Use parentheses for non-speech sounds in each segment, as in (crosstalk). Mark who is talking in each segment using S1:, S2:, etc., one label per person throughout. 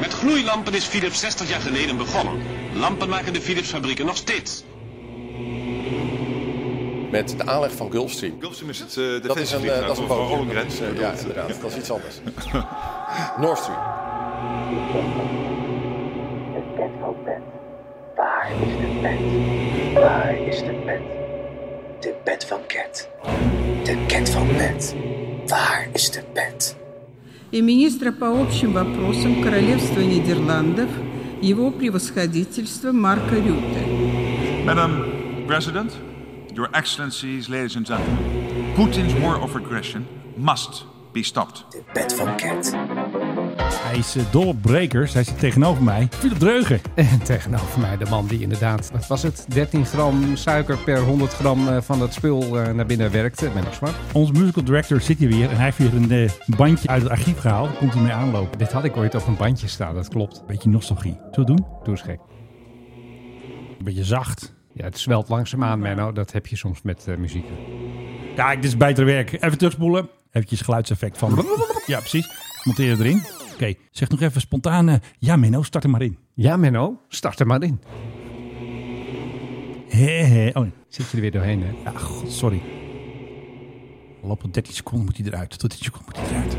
S1: Gloeilampen is Philips 60 jaar geleden begonnen. Lampen maken de Philips fabrieken nog steeds.
S2: Met de aanleg van Gulfstream.
S3: Gulfstream is het eh
S2: Dat is een,
S3: defensievliegtuig
S2: eh, dat is een
S3: van
S2: bootje.
S3: Ollongren.
S2: Dat is,
S3: Ik
S2: eh,
S3: bedoel,
S2: ja,
S3: eh,
S2: inderdaad. Dat is iets anders. (laughs) Nord Stream.
S4: Het bed van bed. Waar is de bed? Waar is de bed? De bed van Cat. De Cat van bed. Waar is de bed?
S5: и министра по общим вопросам Королевства Нидерландов, его превосходительство Марка Рюте.
S3: eh,
S6: Madam President, Your Excellencies, ladies and gentlemen, Putin's war of aggression must be stopped.
S4: De bed van Cat.
S7: Hij is eh, dol op brekers. Hij zit tegenover mij. Philip Dreugen.
S8: En tegenover mij de man die inderdaad, wat was het, 13 gram suiker per 100 gram eh, van dat spul eh, naar binnen werkte. Menno Zwart.
S7: Onze musical director zit hier weer. En hij heeft weer een eh, bandje uit het archief gehaald. Daar komt hij mee aanlopen.
S8: Dit had ik ooit op een bandje staan, dat klopt.
S7: Beetje nostalgie. Zo doen?
S8: Doe eens gek.
S7: Beetje zacht.
S8: Ja, het zwelt langzaam aan, Menno. Dat heb je soms met eh, muziek.
S7: Ja, dit is beter werk. Even terugspoelen. Eventjes geluidseffect van... Ja, precies. Monteer het erin. Oké, zeg nog even spontaan... eh, ja, Menno, start er maar in.
S8: Ja, Menno, start er maar in.
S7: Hé, hé. Oh,
S8: Zit je er weer doorheen, hè?
S7: ja, god, sorry. Loop op 13 seconden moet hij eruit. Tot 13 seconden moet hij eruit.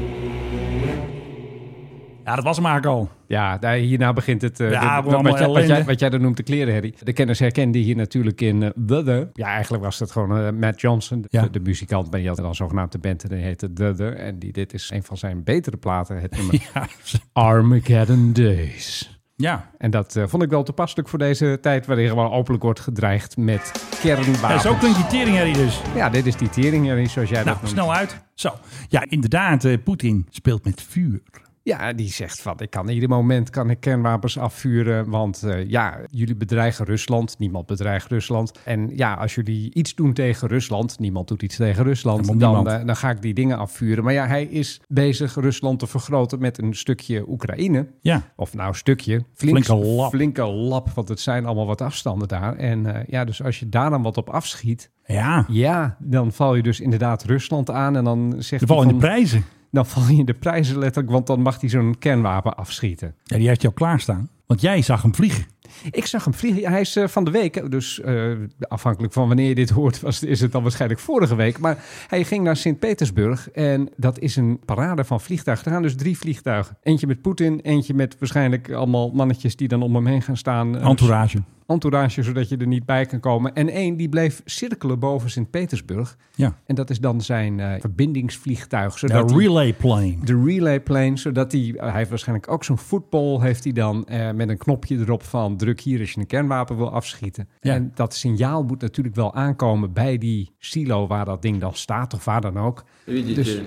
S7: Ja, dat was hem eigenlijk al. (laughs)
S8: Ja, daar- hierna begint het. eh,
S7: Ja,
S8: de-
S7: maar
S8: wat,
S7: allemaal
S8: jij, wat,
S7: ellende.
S8: jij, wat jij dan noemt de klerenherrie. De kenners herkenden hier natuurlijk in eh, The The. Ja, eigenlijk was dat gewoon eh, Matt Johnson, de,
S7: Ja.
S8: de muzikant. Ben je had dan zogenaamd de band en die heette The The. En die, dit is een van zijn betere platen, het
S7: (laughs)
S8: nummer
S7: Ja,
S8: Armageddon Days.
S7: ja.
S8: En dat eh, vond ik wel toepasselijk voor deze tijd waarin gewoon openlijk wordt gedreigd met
S7: Ja,
S8: kernwapens.
S7: zo klinkt die teringherrie dus.
S8: Ja, dit is die teringherrie zoals jij
S7: Nou,
S8: dat noemt.
S7: snel uit. Zo. Ja, inderdaad, eh, Poetin speelt met vuur.
S8: Ja, die zegt van, ik kan ieder moment kan ik kernwapens afvuren, want eh, ja, jullie bedreigen Rusland, niemand bedreigt Rusland. En ja, als jullie iets doen tegen Rusland, niemand doet iets tegen Rusland,
S7: Helemaal
S8: dan,
S7: niemand.
S8: eh, dan ga ik die dingen afvuren. Maar ja, hij is bezig Rusland te vergroten met een stukje Oekraïne.
S7: Ja.
S8: Of nou, een stukje. Flink-
S7: Flinke lap.
S8: Flinke lap, want het zijn allemaal wat afstanden daar. En eh, ja, dus als je daar dan wat op afschiet,
S7: Ja.
S8: ja, dan val je dus inderdaad Rusland aan. En dan zegt
S7: De
S8: hij
S7: val in de
S8: van-
S7: prijzen.
S8: dan val je in de prijzen letterlijk, want dan mag hij zo'n kernwapen afschieten.
S7: Ja, die heeft jou klaarstaan. Want jij zag hem vliegen.
S8: Ik zag hem vliegen. Hij is eh, van de week, dus eh, afhankelijk van wanneer je dit hoort, (laughs) was, is het dan waarschijnlijk vorige week. Maar hij ging naar Sint-Petersburg en dat is een parade van vliegtuigen. Er gaan dus drie vliegtuigen. Eentje met Poetin, eentje met waarschijnlijk allemaal mannetjes die dan om hem heen gaan staan. Eh,
S7: Entourage.
S8: entourage, zodat je er niet bij kan komen. En één die bleef cirkelen boven Sint-Petersburg.
S7: Ja.
S8: En dat is dan zijn eh, verbindingsvliegtuig.
S7: De
S8: Zodat hij-
S7: relay plane.
S8: de relay plane, zodat hij, eh, hij heeft waarschijnlijk ook zo'n voetbal, heeft hij dan eh, met een knopje erop van druk hier als je een kernwapen wil afschieten.
S7: Ja.
S8: En dat signaal moet natuurlijk wel aankomen bij die silo waar dat ding dan staat of waar dan ook. Dus-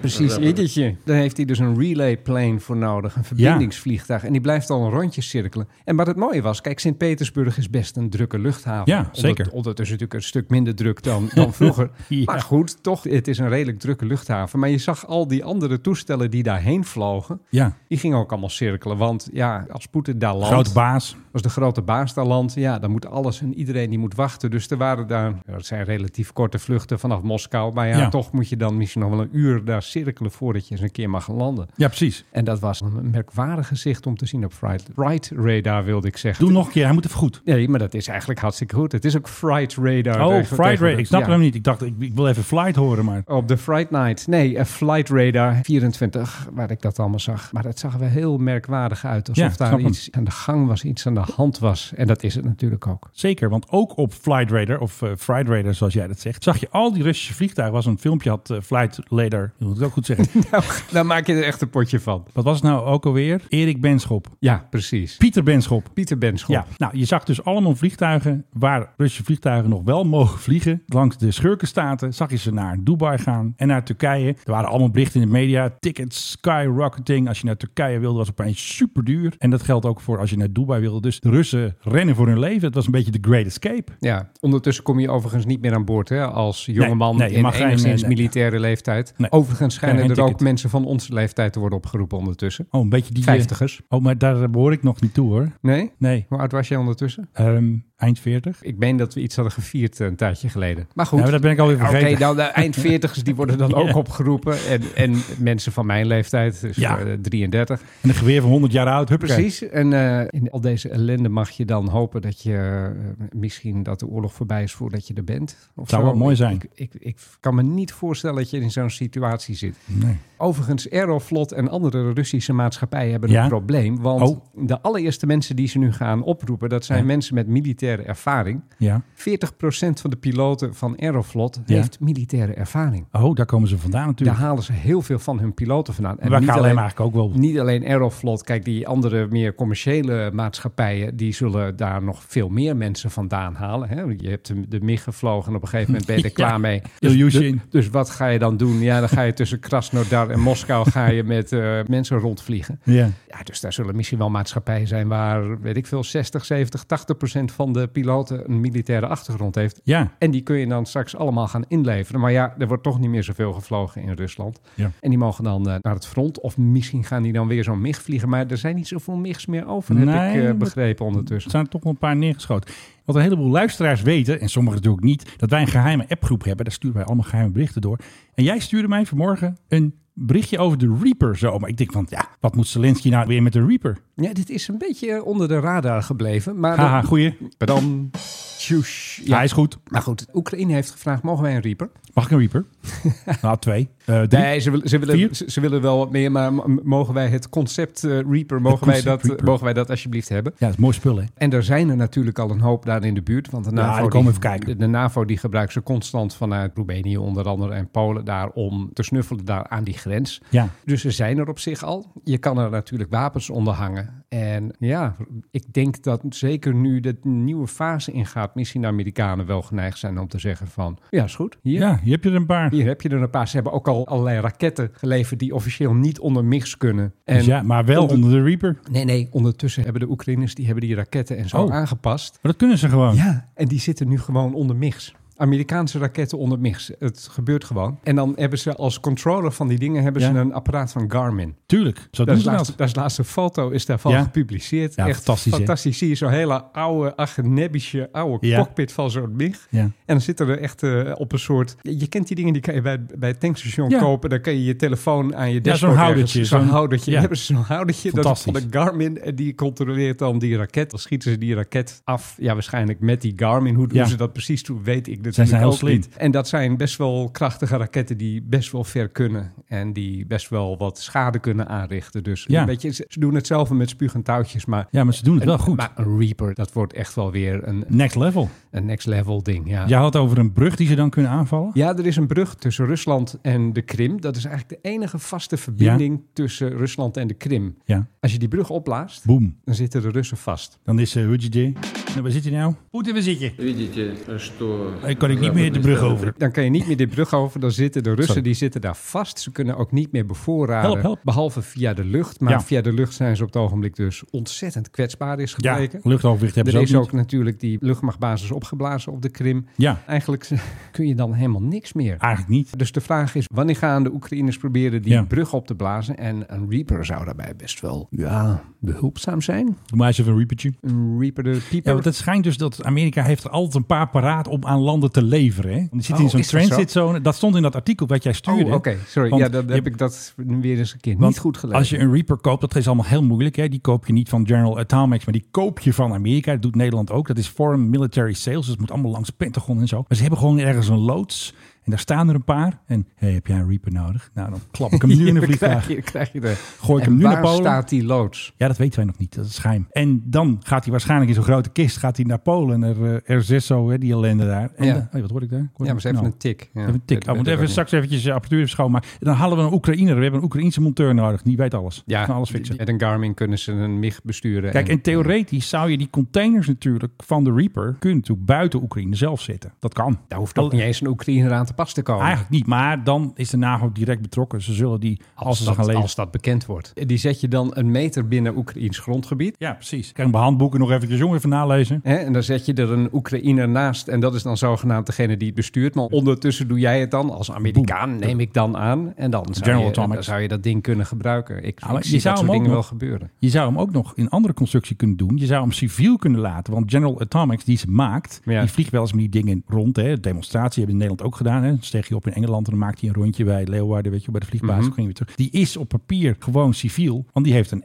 S8: Precies, iedertje. Daar heeft hij dus een relay plane voor nodig, een verbindingsvliegtuig. En die blijft dan rondjes cirkelen. En wat het mooie was, kijk, Sint-Petersburg is best een drukke luchthaven.
S7: Ja,
S8: Ondert-
S7: zeker.
S8: Ondertussen natuurlijk een stuk minder druk dan,
S7: (laughs)
S8: dan vroeger.
S7: Ja.
S8: Maar goed, toch, het is een redelijk drukke luchthaven. Maar je zag al die andere toestellen die daarheen vlogen.
S7: Ja.
S8: Die gingen ook allemaal cirkelen. Want ja, als Poetin daar landt,
S7: Grote baas.
S8: als de grote baas daar landt, ja, dan moet alles en iedereen die moet wachten. Dus er waren daar, ja, dat zijn relatief korte vluchten vanaf Moskou. Maar ja,
S7: Ja.
S8: toch moet je dan misschien nog wel een uur daar cirkelen voordat je eens een keer mag landen.
S7: Ja, precies.
S8: En dat was een merkwaardig gezicht om te zien op Fright, Fright Radar, wilde ik zeggen.
S7: Doe nog een keer. Hij moet even goed.
S8: Nee, maar dat is eigenlijk hartstikke goed. Het is ook Fright Radar.
S7: Oh,
S8: tegen-
S7: Fright Ray.
S8: tegen-
S7: Ik snap
S8: ja.
S7: hem niet. Ik dacht, ik, ik wil even flight horen, maar...
S8: Op de Fright Night. Nee, eh, Flight Radar 24, waar ik dat allemaal zag. Maar dat zag er wel heel merkwaardig uit. Alsof
S7: Ja, snap
S8: daar
S7: hem.
S8: iets aan de gang was, iets aan de hand was. En dat is het natuurlijk
S7: (laughs)
S8: ook.
S7: Zeker, want ook op Flight Radar, of eh, Fright Radar zoals jij dat zegt, zag je al die Russische vliegtuigen. was een filmpje, had eh, Flight Radar, dat moet ik ook goed
S8: (laughs)
S7: zeggen.
S8: Nou, daar maak je er echt een potje van.
S7: Wat was het nou ook alweer? Erik Benschop.
S8: Ja, precies.
S7: Pieter Benschop.
S8: Pieter Benschop.
S7: Ja, nou, je zag dus allemaal vliegtuigen waar Russische vliegtuigen nog wel mogen vliegen. Langs de schurkenstaten zag je ze naar Dubai gaan en naar Turkije. Er waren allemaal berichten in de media. Tickets, skyrocketing. Als je naar Turkije wilde, was het opeens super duur. En dat geldt ook voor als je naar Dubai wilde. Dus de Russen rennen voor hun leven. Het was een beetje de Great Escape.
S8: Ja, ondertussen kom je overigens niet meer aan boord hè, als jongeman
S7: nee, je
S8: in
S7: mag geen,
S8: enigszins
S7: eh, nee,
S8: militaire leeftijd.
S7: Nee.
S8: Overigens schijnen
S7: Nee,
S8: er
S7: geen
S8: ook
S7: ticket.
S8: mensen van onze leeftijd te worden opgeroepen ondertussen.
S7: Oh, een beetje die... eh,
S8: Vijftigers.
S7: Oh, maar daar behoor ik nog niet toe hoor.
S8: Nee?
S7: Nee,
S8: Hoe oud was jij ondertussen?
S7: ehm, eind 40.
S8: Ik meen dat we iets hadden gevierd eh, een tijdje geleden. Maar goed.
S7: Ja, maar dat ben ik alweer
S8: Oké,
S7: vergeten.
S8: nou, de
S7: (laughs)
S8: eindveertigers die worden dan ook opgeroepen. En, en mensen van mijn leeftijd, dus
S7: Ja.
S8: eh, 33.
S7: En een geweer van 100 jaar oud, huppakee.
S8: Precies. En eh, in al deze ellende mag je dan hopen dat je eh, misschien dat de oorlog voorbij is voordat je er bent. Of
S7: Zou
S8: zo.
S7: wel mooi zijn.
S8: Ik, ik, ik kan me niet voorstellen dat je in zo'n situatie zit.
S7: Nee.
S8: Overigens, Aeroflot en andere Russische maatschappijen hebben
S7: Ja?
S8: een probleem. Want
S7: Oh.
S8: de allereerste mensen die ze nu gaan oproepen, dat zijn
S7: Ja.
S8: mensen met militaire ervaring. 40%
S7: Ja.
S8: van de piloten van Aeroflot
S7: Ja.
S8: heeft militaire ervaring.
S7: Oh, daar komen ze vandaan
S8: Daar
S7: natuurlijk.
S8: halen ze heel veel van hun piloten vandaan.
S7: Waar KLM eigenlijk ook wel.
S8: Niet alleen Aeroflot, kijk, die andere meer commerciële maatschappijen, die zullen daar nog veel meer mensen vandaan halen. Hè? Je hebt de, de MIG gevlogen en op een gegeven moment ben je er
S7: (laughs) Ja.
S8: klaar mee.
S7: Ilyushin.
S8: du- dus wat ga je dan doen? Ja, dan ga je tussen Krasnodar en Moskou ga je met eh, mensen rondvliegen.
S7: Ja.
S8: Ja, dus daar zullen misschien wel maatschappijen zijn waar, weet ik veel, 60, 70, 80 procent van de piloten een militaire achtergrond heeft.
S7: Ja.
S8: En die kun je dan straks allemaal gaan inleveren. Maar ja, er wordt toch niet meer zoveel gevlogen in Rusland.
S7: Ja.
S8: En die mogen dan eh, naar het front. Of misschien gaan die dan weer zo'n MIG vliegen. Maar er zijn niet zoveel MIGs meer over, heb ik
S7: Nee,
S8: eh,
S7: maar-
S8: begrepen ondertussen.
S7: Er zijn er toch wel een paar neergeschoten. Wat een heleboel luisteraars weten, en sommigen natuurlijk niet, dat wij een geheime appgroep hebben. Daar sturen wij allemaal geheime berichten door. En jij stuurde mij vanmorgen een berichtje over de Reaper zo. Maar ik denk van, ja, wat moet Zelensky nou weer met de Reaper?
S8: Ja, dit is een beetje eh, onder de radar gebleven. Maar
S7: Haha, goeie.
S8: dan... Tjoes.
S7: Ja,
S8: Ah, Ja,
S7: hij is goed.
S8: maar goed, Oekraïne heeft gevraagd, mogen wij een Reaper?
S7: Mag ik een
S8: (laughs)
S7: Reaper? nou, twee. Eh, drie.
S8: Nee, ze, willen- ze,
S7: Vier?
S8: willen, ze, ze willen wel wat meer, maar m- mogen wij het concept eh, Reaper, mogen,
S7: concept
S8: wij dat, eh,
S7: Reaper.
S8: mogen wij dat alsjeblieft hebben?
S7: Ja, dat is mooi spul, hè?
S8: En er zijn er natuurlijk al een hoop daar in de buurt. Want de
S7: Ja,
S8: NAVO,
S7: die komen
S8: die-
S7: even kijken.
S8: De, de NAVO die gebruikt ze constant vanuit Roemenië onder andere en Polen daar om te snuffelen daar aan die grens.
S7: Ja.
S8: Dus ze zijn er op zich al. Je kan er natuurlijk wapens onder hangen. En ja, ik denk dat zeker nu de nieuwe fase ingaat, misschien de Amerikanen wel geneigd zijn om te zeggen van, ja is goed, hier,
S7: Ja, hier heb je er een paar.
S8: hier heb je er een paar. Ze hebben ook al allerlei raketten geleverd die officieel niet onder MIGs kunnen. En
S7: Dus ja, maar wel
S8: onder-
S7: onder de Reaper. Maar
S8: Nee, nee, ondertussen hebben de Oekraïners die, hebben die raketten en zo
S7: Oh.
S8: aangepast.
S7: dat kunnen ze gewoon.
S8: Ja, en die zitten nu gewoon onder MIGs. Amerikaanse raketten onder MIGs. Het gebeurt gewoon. En dan hebben ze als controller van die dingen hebben
S7: Ja.
S8: ze een apparaat van Garmin.
S7: Tuurlijk, zo
S8: Daar
S7: doen
S8: is,
S7: ze
S8: laatste,
S7: dat.
S8: daar is laatste foto is daarvan
S7: Ja.
S8: gepubliceerd.
S7: Ja,
S8: Echt
S7: fantastisch, hè?
S8: Fantastisch. Zie je zo'n hele oude, agnebische oude
S7: Ja.
S8: cockpit van zo'n MIG.
S7: Ja.
S8: En dan zitten er echt eh, op een soort... Je, je kent die dingen, die kan je bij, bij het tankstation
S7: Ja.
S8: kopen. Dan kan je je telefoon aan je dashboard
S7: zo'n
S8: ergens-
S7: houdertje,
S8: Zo'n
S7: zo'n-
S8: houdertje.
S7: ja.
S8: (laughs) Hebben ze zo'n houdertje. Dat is van de
S7: Fantastisch.
S8: Garmin. En die controleert dan die raket. Dan schieten ze die raket af. Ja, waarschijnlijk met die Garmin. Hoe doen
S7: Ja.
S8: ze dat precies toe? Weet ik natuurlijk
S7: Zij zijn heel
S8: ook
S7: slim.
S8: niet. En dat zijn best wel krachtige raketten die best wel ver kunnen. En die best wel wat schade kunnen aanrichten. Dus
S7: Ja.
S8: een beetje, ze ze doen hetzelfde met spuug en touwtjes. Maar,
S7: Ja, maar ze doen het wel goed.
S8: maar een Reaper, dat wordt echt wel weer een,
S7: Next level.
S8: een next level ding. Ja.
S7: Jij had het over een brug die ze dan kunnen aanvallen.
S8: Ja, er is een brug tussen Rusland en de Krim. Dat is eigenlijk de enige vaste verbinding tussen Rusland en de Krim.
S7: Ja.
S8: Als je die brug opblaast,
S7: Boom.
S8: dan zitten de Russen vast.
S7: Dan is uh, Hujiji. Nou, waar zit hij nou? Poetin, waar zit je?
S3: Видите, что...
S7: Dan kan ik niet meer de brug over.
S8: Dan kan je niet meer die brug over. Dan zitten de Russen
S7: Sorry.
S8: die zitten daar vast. Ze kunnen ook niet meer bevoorraden.
S7: Help, help.
S8: Behalve via de lucht. Maar
S7: Ja.
S8: via de lucht zijn ze op het ogenblik dus ontzettend kwetsbaar is
S7: Ja,
S8: gebleken.
S7: luchtoverwicht hebben
S8: Er
S7: ze ook,
S8: is ook
S7: niet.
S8: natuurlijk die luchtmachtbasis opgeblazen op de Krim.
S7: Ja,
S8: Eigenlijk (laughs) kun je dan helemaal niks meer.
S7: eigenlijk niet.
S8: Dus de vraag is, wanneer gaan de Oekraïners proberen die
S7: Ja.
S8: brug op te blazen? En een Reaper zou daarbij best wel ja, behulpzaam zijn.
S7: Doe maar eens even een reapertje.
S8: Een Reaper de
S7: Ja,
S8: Pieper.
S7: want het schijnt dus dat Amerika heeft er altijd een paar paraat om aan landen te leveren. Hè? Want die zitten
S8: Oh,
S7: in
S8: is
S7: zo'n
S8: dat zo?
S7: transitzone. Dat stond in dat artikel wat jij
S8: Oh,
S7: stuurde.
S8: oké. Sorry,
S7: Want
S8: ja, dan
S7: je-
S8: heb ik dat weer eens een keer
S7: want
S8: niet goed gelezen. (laughs)
S7: Als je een Reaper koopt, dat is allemaal heel moeilijk. Hè? Die koop je niet van General Atomics, maar die koop je van Amerika. Dat doet Nederland ook. Dat is Foreign Military Sales. Dus het moet allemaal langs Pentagon en zo. Maar ze hebben gewoon ergens een loods. En daar staan er een paar. En hey, heb jij een Reaper nodig? Nou, dan klap ik hem
S8: (laughs)
S7: nu in de
S8: Dan
S7: vliegtuig.
S8: krijg je, krijg je de...
S7: Gooi ik
S8: En
S7: hem nu
S8: waar
S7: naar Polen.
S8: staat die loods?
S7: Ja, dat weten wij nog niet. Dat is geheim. En dan gaat hij waarschijnlijk in zo'n grote kist gaat hij naar Polen. Er, eh, R6 zo, hè, die ellende daar. En
S8: Ja.
S7: dan- hey, wat hoor ik daar? Ik hoor
S8: Ja, maar ze
S7: nou,
S8: hebben een tik. Ja,
S7: even een tik.
S8: dat
S7: Oh, moet
S8: weet ik
S7: even
S8: ook
S7: straks eventjes de apparatuur even schoonmaken. En dan halen we een Oekraïner. We hebben een Oekraïense monteur nodig. Die weet alles.
S8: niet. Ja,
S7: kan alles fixen.
S8: met een Garmin kunnen ze een MIG besturen.
S7: Kijk, en theoretisch zou je die containers natuurlijk van de Reaper... kun je natuurlijk buiten Oekraïne zelf zetten. Dat kan.
S8: daar hoeft ook niet eens een Oekraïner aan te pas te komen.
S7: Eigenlijk niet, maar dan is de NAVO direct betrokken. Ze zullen die, als, ze ze
S8: dat,
S7: gaan lezen...
S8: als dat bekend wordt. Die zet je dan een meter binnen Oekraïns grondgebied.
S7: Ja, precies. Krijg mijn handboeken nog eventjes, jongen, even nalezen.
S8: Hè, en dan zet je er een Oekraïner naast. En dat is dan zogenaamd degene die het bestuurt. Maar ondertussen doe jij het dan als Amerikaan, neem ik dan aan. En dan zou,
S7: General
S8: je,
S7: Atomics.
S8: dan zou je dat ding kunnen gebruiken. Ik,
S7: maar
S8: ik
S7: je
S8: zie
S7: zou
S8: dat soort
S7: hem ook
S8: dingen wel
S7: nog-
S8: gebeuren.
S7: Je zou hem ook nog in andere constructie kunnen doen. Je zou hem civiel kunnen laten. Want General Atomics, die ze maakt,
S8: Ja.
S7: die vliegt wel eens met die dingen rond. Hè. Demonstratie hebben we in Nederland ook gedaan. Hè. Dan steeg je op in Engeland en dan maakt hij een rondje bij Leeuwarden, weet je, bij de vliegbasis.
S8: Mhm.
S7: Dan ging je weer terug. Die is op papier gewoon civiel. Want die heeft een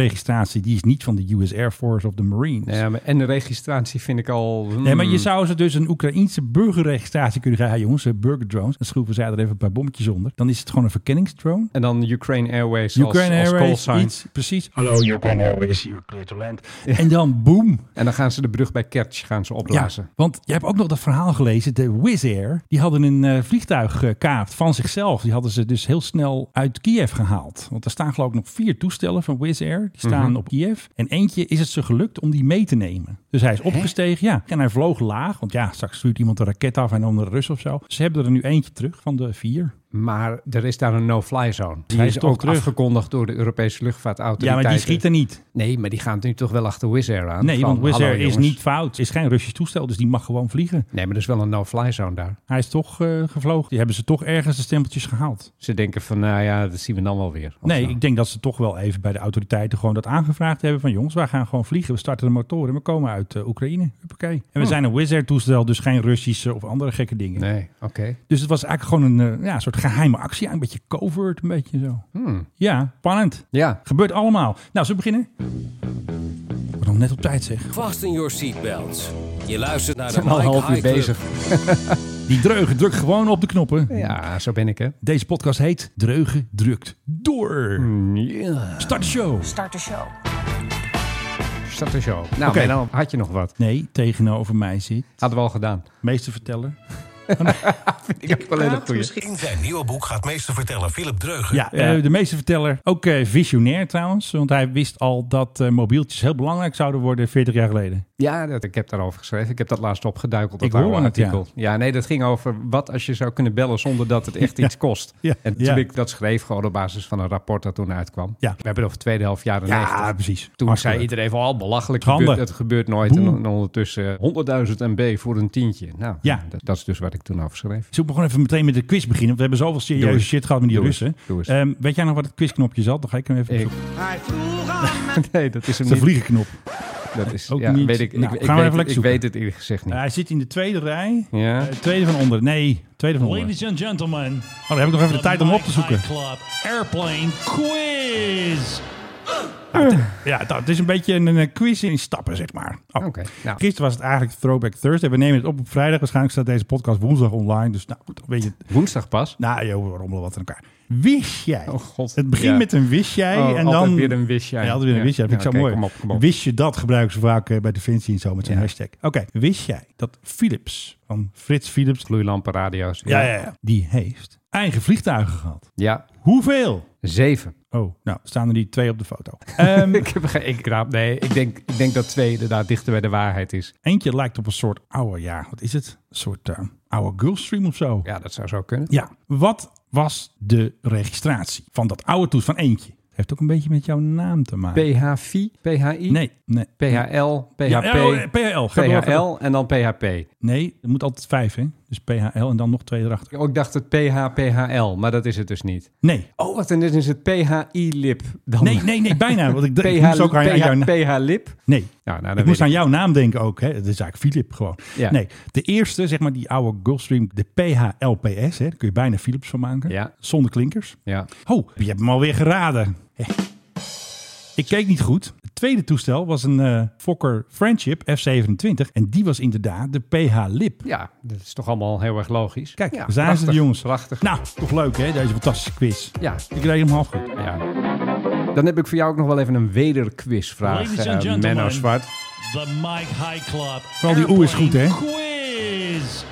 S7: N-registratie. Die is niet van de US Air Force of de Marines.
S8: Nou ja, maar- en de registratie vind ik al... hmm.
S7: Nee, Dus- maar je zou ze dus een Oekraïense burgerregistratie kunnen gaan. Ja, jongens, eh, burgerdrones. Dan schroeven zij er even een paar bommetjes onder. Dan is het gewoon een verkenningsdrone.
S8: En dan Ukraine Airways als-
S7: Ukraine
S8: als,
S7: Airways,
S8: callsign.
S7: iets, precies. Hallo, Ukraine Airways, you're clear to land. En dan boom.
S8: En dan gaan ze de brug bij Kerch gaan ze
S7: Ja,
S8: opblazen.
S7: want je hebt ook nog dat verhaal gelezen. De Wizz Air, die hadden een eh, vliegtuig gekaapt van zichzelf. Die hadden ze dus heel snel uit Kiev gehaald. Want er staan geloof ik nog vier toestellen van Wizz Air. Die staan
S8: Mhm.
S7: op Kiev. En eentje is het ze gelukt om die mee te nemen. Dus hij is opgestegen, ja. En hij vloog laag. Want ja, straks stuurt iemand een raket af en dan de Rus of zo. Ze hebben er nu eentje terug van de vier.
S8: Maar er is daar een no-fly zone.
S7: Die
S8: Hij
S7: is
S8: is
S7: toch
S8: ook
S7: terug.
S8: afgekondigd door de Europese
S7: Ja,
S8: luchtvaartautoriteiten.
S7: maar die schieten niet.
S8: Nee, maar die gaan nu toch wel achter Wizz Air aan.
S7: Nee,
S8: Van,
S7: want Wizz
S8: hallo,
S7: Air is
S8: jongens.
S7: niet fout. Is geen Russisch toestel, dus die mag gewoon vliegen.
S8: Nee, maar er is wel een no-fly zone daar.
S7: Hij is toch eh, gevlogen. Die hebben ze toch ergens de stempeltjes gehaald.
S8: Ze denken van, nou ja, dat zien we dan wel weer. Of
S7: Nee,
S8: zo.
S7: ik denk dat ze toch wel even bij de autoriteiten gewoon dat aangevraagd hebben van jongens, wij gaan gewoon vliegen. We starten de motoren, we komen uit eh, Oekraïne. Huppakee. En we zijn een Wizz Air toestel, dus geen Russische of andere gekke dingen.
S8: Nee, oké.
S7: Dus het was eigenlijk gewoon een eh, ja, soort geheime actie, een beetje covert, een beetje zo.
S8: Hmm.
S7: Ja, spannend.
S8: Ja,
S7: Gebeurt allemaal. Nou, zullen we beginnen? We nog net op tijd zeg.
S3: Fasten your seatbelts. Je luistert naar
S8: we
S3: de
S8: zijn al
S3: Mike
S8: een half uur
S3: High Club.
S8: bezig.
S7: Die dreugen drukt gewoon op de knoppen.
S8: Ja, zo ben ik, hè.
S7: Deze podcast heet Dreugen drukt door.
S8: Hmm,
S7: Start de show.
S9: Start de show.
S8: Start de show. Nou,
S7: Oké.
S8: en dan had je nog wat.
S7: Nee, tegenover mij zit
S8: Hadden we al gedaan.
S7: meester verteller.
S8: Ik heb wel een hele goeie.
S3: In zijn nieuwe boek gaat meester vertellen Philip Dreugen.
S7: Ja, eh, de meeste verteller. Ook eh, visionair trouwens. Want hij wist al dat eh, mobieltjes heel belangrijk zouden worden 40 jaar geleden.
S8: Ja, dat, ik heb daarover geschreven. Ik heb dat laatst opgeduikeld. Dat
S7: Ik hoor
S8: oude
S7: het, ja.
S8: artikel. Ja. nee, dat ging over wat als je zou kunnen bellen zonder
S7: (laughs)
S8: dat het echt iets kost.
S7: Ja.
S8: En toen
S7: Ja.
S8: ik dat schreef, gewoon op basis van een rapport dat toen uitkwam.
S7: Ja.
S8: We hebben het over tweede helft jaren 90.
S7: precies.
S8: Toen
S7: Hartstikke
S8: zei
S7: leuk.
S8: iedereen van, al belachelijk,
S7: Schande.
S8: gebeurt, het gebeurt nooit. En,
S7: Boem.
S8: on- ondertussen eh, 100.000 MB voor een tientje. Nou,
S7: Ja.
S8: dat, dat is dus wat ik toen over schreef.
S7: Zullen we gewoon even meteen met de quiz beginnen? Want we hebben zoveel serieuze
S8: Doe eens.
S7: shit gehad met die
S8: Doe eens.
S7: Russen.
S8: Doe eens.
S7: Ehm, weet jij nog wat het quizknopje zat? Dan ga ik hem even
S8: Ik-
S7: opzoeken.
S8: (laughs) nee,
S7: Het
S8: dat is hem
S7: is een
S8: niet.
S7: vliegenknop.
S8: Dat is,
S7: Ook
S8: ja,
S7: niet.
S8: Weet ik, ik,
S7: Nou,
S8: ik
S7: gaan we even
S8: weet,
S7: lekker
S8: het- ik
S7: zoeken.
S8: weet het eerlijk gezegd niet.
S7: Eh, hij zit in de tweede rij.
S8: Ja.
S7: Eh, tweede van onder. Nee, tweede van onder.
S10: Ladies and gentlemen,
S7: Oh, dan heb ik nog even Oh, de tijd om op te zoeken.
S10: Club Airplane Quiz.
S7: Ja, dat het is een beetje een, een quiz in stappen, zeg maar. Oh.
S8: Oké, nou.
S7: Gisteren was het eigenlijk Throwback Thursday. We nemen het op op vrijdag. Waarschijnlijk staat deze podcast woensdag online. Dus nou goed, dan weet je het.
S8: Woensdag pas.
S7: Nou, joh, we rommelen wat aan elkaar. Wist jij?
S8: Oh, god.
S7: Het begint
S8: Ja.
S7: met een wist jij
S8: Oh,
S7: en
S8: altijd
S7: dan...
S8: weer een wist jij.
S7: Ja, altijd weer een
S8: Ja.
S7: wist jij. Vind
S8: Ja,
S7: ik zo
S8: oké,
S7: mooi.
S8: kom op, kom op.
S7: Wist je dat gebruiken ze vaak eh, bij Defensie en zo met zijn
S8: Ja.
S7: hashtag. Oké, wist jij dat Philips, van Frits Philips...
S8: Gloeilampen, radio's.
S7: Ja, ja, ja. Die heeft eigen vliegtuigen gehad.
S8: Ja,
S7: Hoeveel?
S8: zeven.
S7: Oh, nou, staan er die twee op de
S8: (laughs)
S7: foto. Ehm,
S8: Ik heb geen ik raap. Nee, ik denk, ik denk dat twee inderdaad dichter bij de waarheid is.
S7: eentje lijkt op een soort oude, ja, wat is het? Een soort eh, oude Gulfstream of zo.
S8: Ja, dat zou zo kunnen.
S7: Ja, wat was de registratie van dat oude toestel van eentje? Het heeft ook een beetje met jouw naam te maken.
S8: PHV, PHI,
S7: nee, nee.
S8: PHL, PHP,
S7: Ja, oh, eh, PHL. Ga door, ga door.
S8: PHL en dan PHP.
S7: Nee, er moet altijd vijf, hè? Dus PHL en dan nog twee erachter.
S8: Oh, ik dacht het PH, PHL, maar dat is het dus niet.
S7: Nee,
S8: Oh, wat en dit is het PHI-lip dan.
S7: nee, nee, nee bijna. Want ik,
S8: (laughs)
S7: d- ik
S8: PH,
S7: moest ook aan, aan jouw naam...
S8: PH-lip.
S7: Nee,
S8: Nou, nou, dan
S7: ik
S8: weet
S7: moest aan
S8: ik.
S7: jouw naam denken ook. Hè? Dat is eigenlijk Philip gewoon.
S8: Ja.
S7: Nee, de eerste, zeg maar die oude Gulfstream, de PHLPS. Hè? Daar kun je bijna Philips van maken.
S8: Ja.
S7: Zonder klinkers.
S8: Ja.
S7: Oh, je hebt hem alweer geraden. Hè. Ik keek niet goed. Het tweede toestel was een eh, Fokker Friendship F-27. En die was inderdaad de PH-lip.
S8: ja, dat is toch allemaal heel erg logisch.
S7: Kijk,
S8: ja,
S7: daar zijn ze
S8: prachtig,
S7: de jongens.
S8: Prachtig.
S7: Nou, toch leuk hè, deze fantastische quiz.
S8: Ja.
S7: Ik reed hem half goed.
S8: Ja. Dan heb ik voor jou ook nog wel even een wederquizvraag,
S10: Ladies and
S8: eh,
S10: gentlemen.
S8: Menno Zwart.
S10: The Mike High Club
S7: Vooral die oe is goed, hè?
S10: Quiz.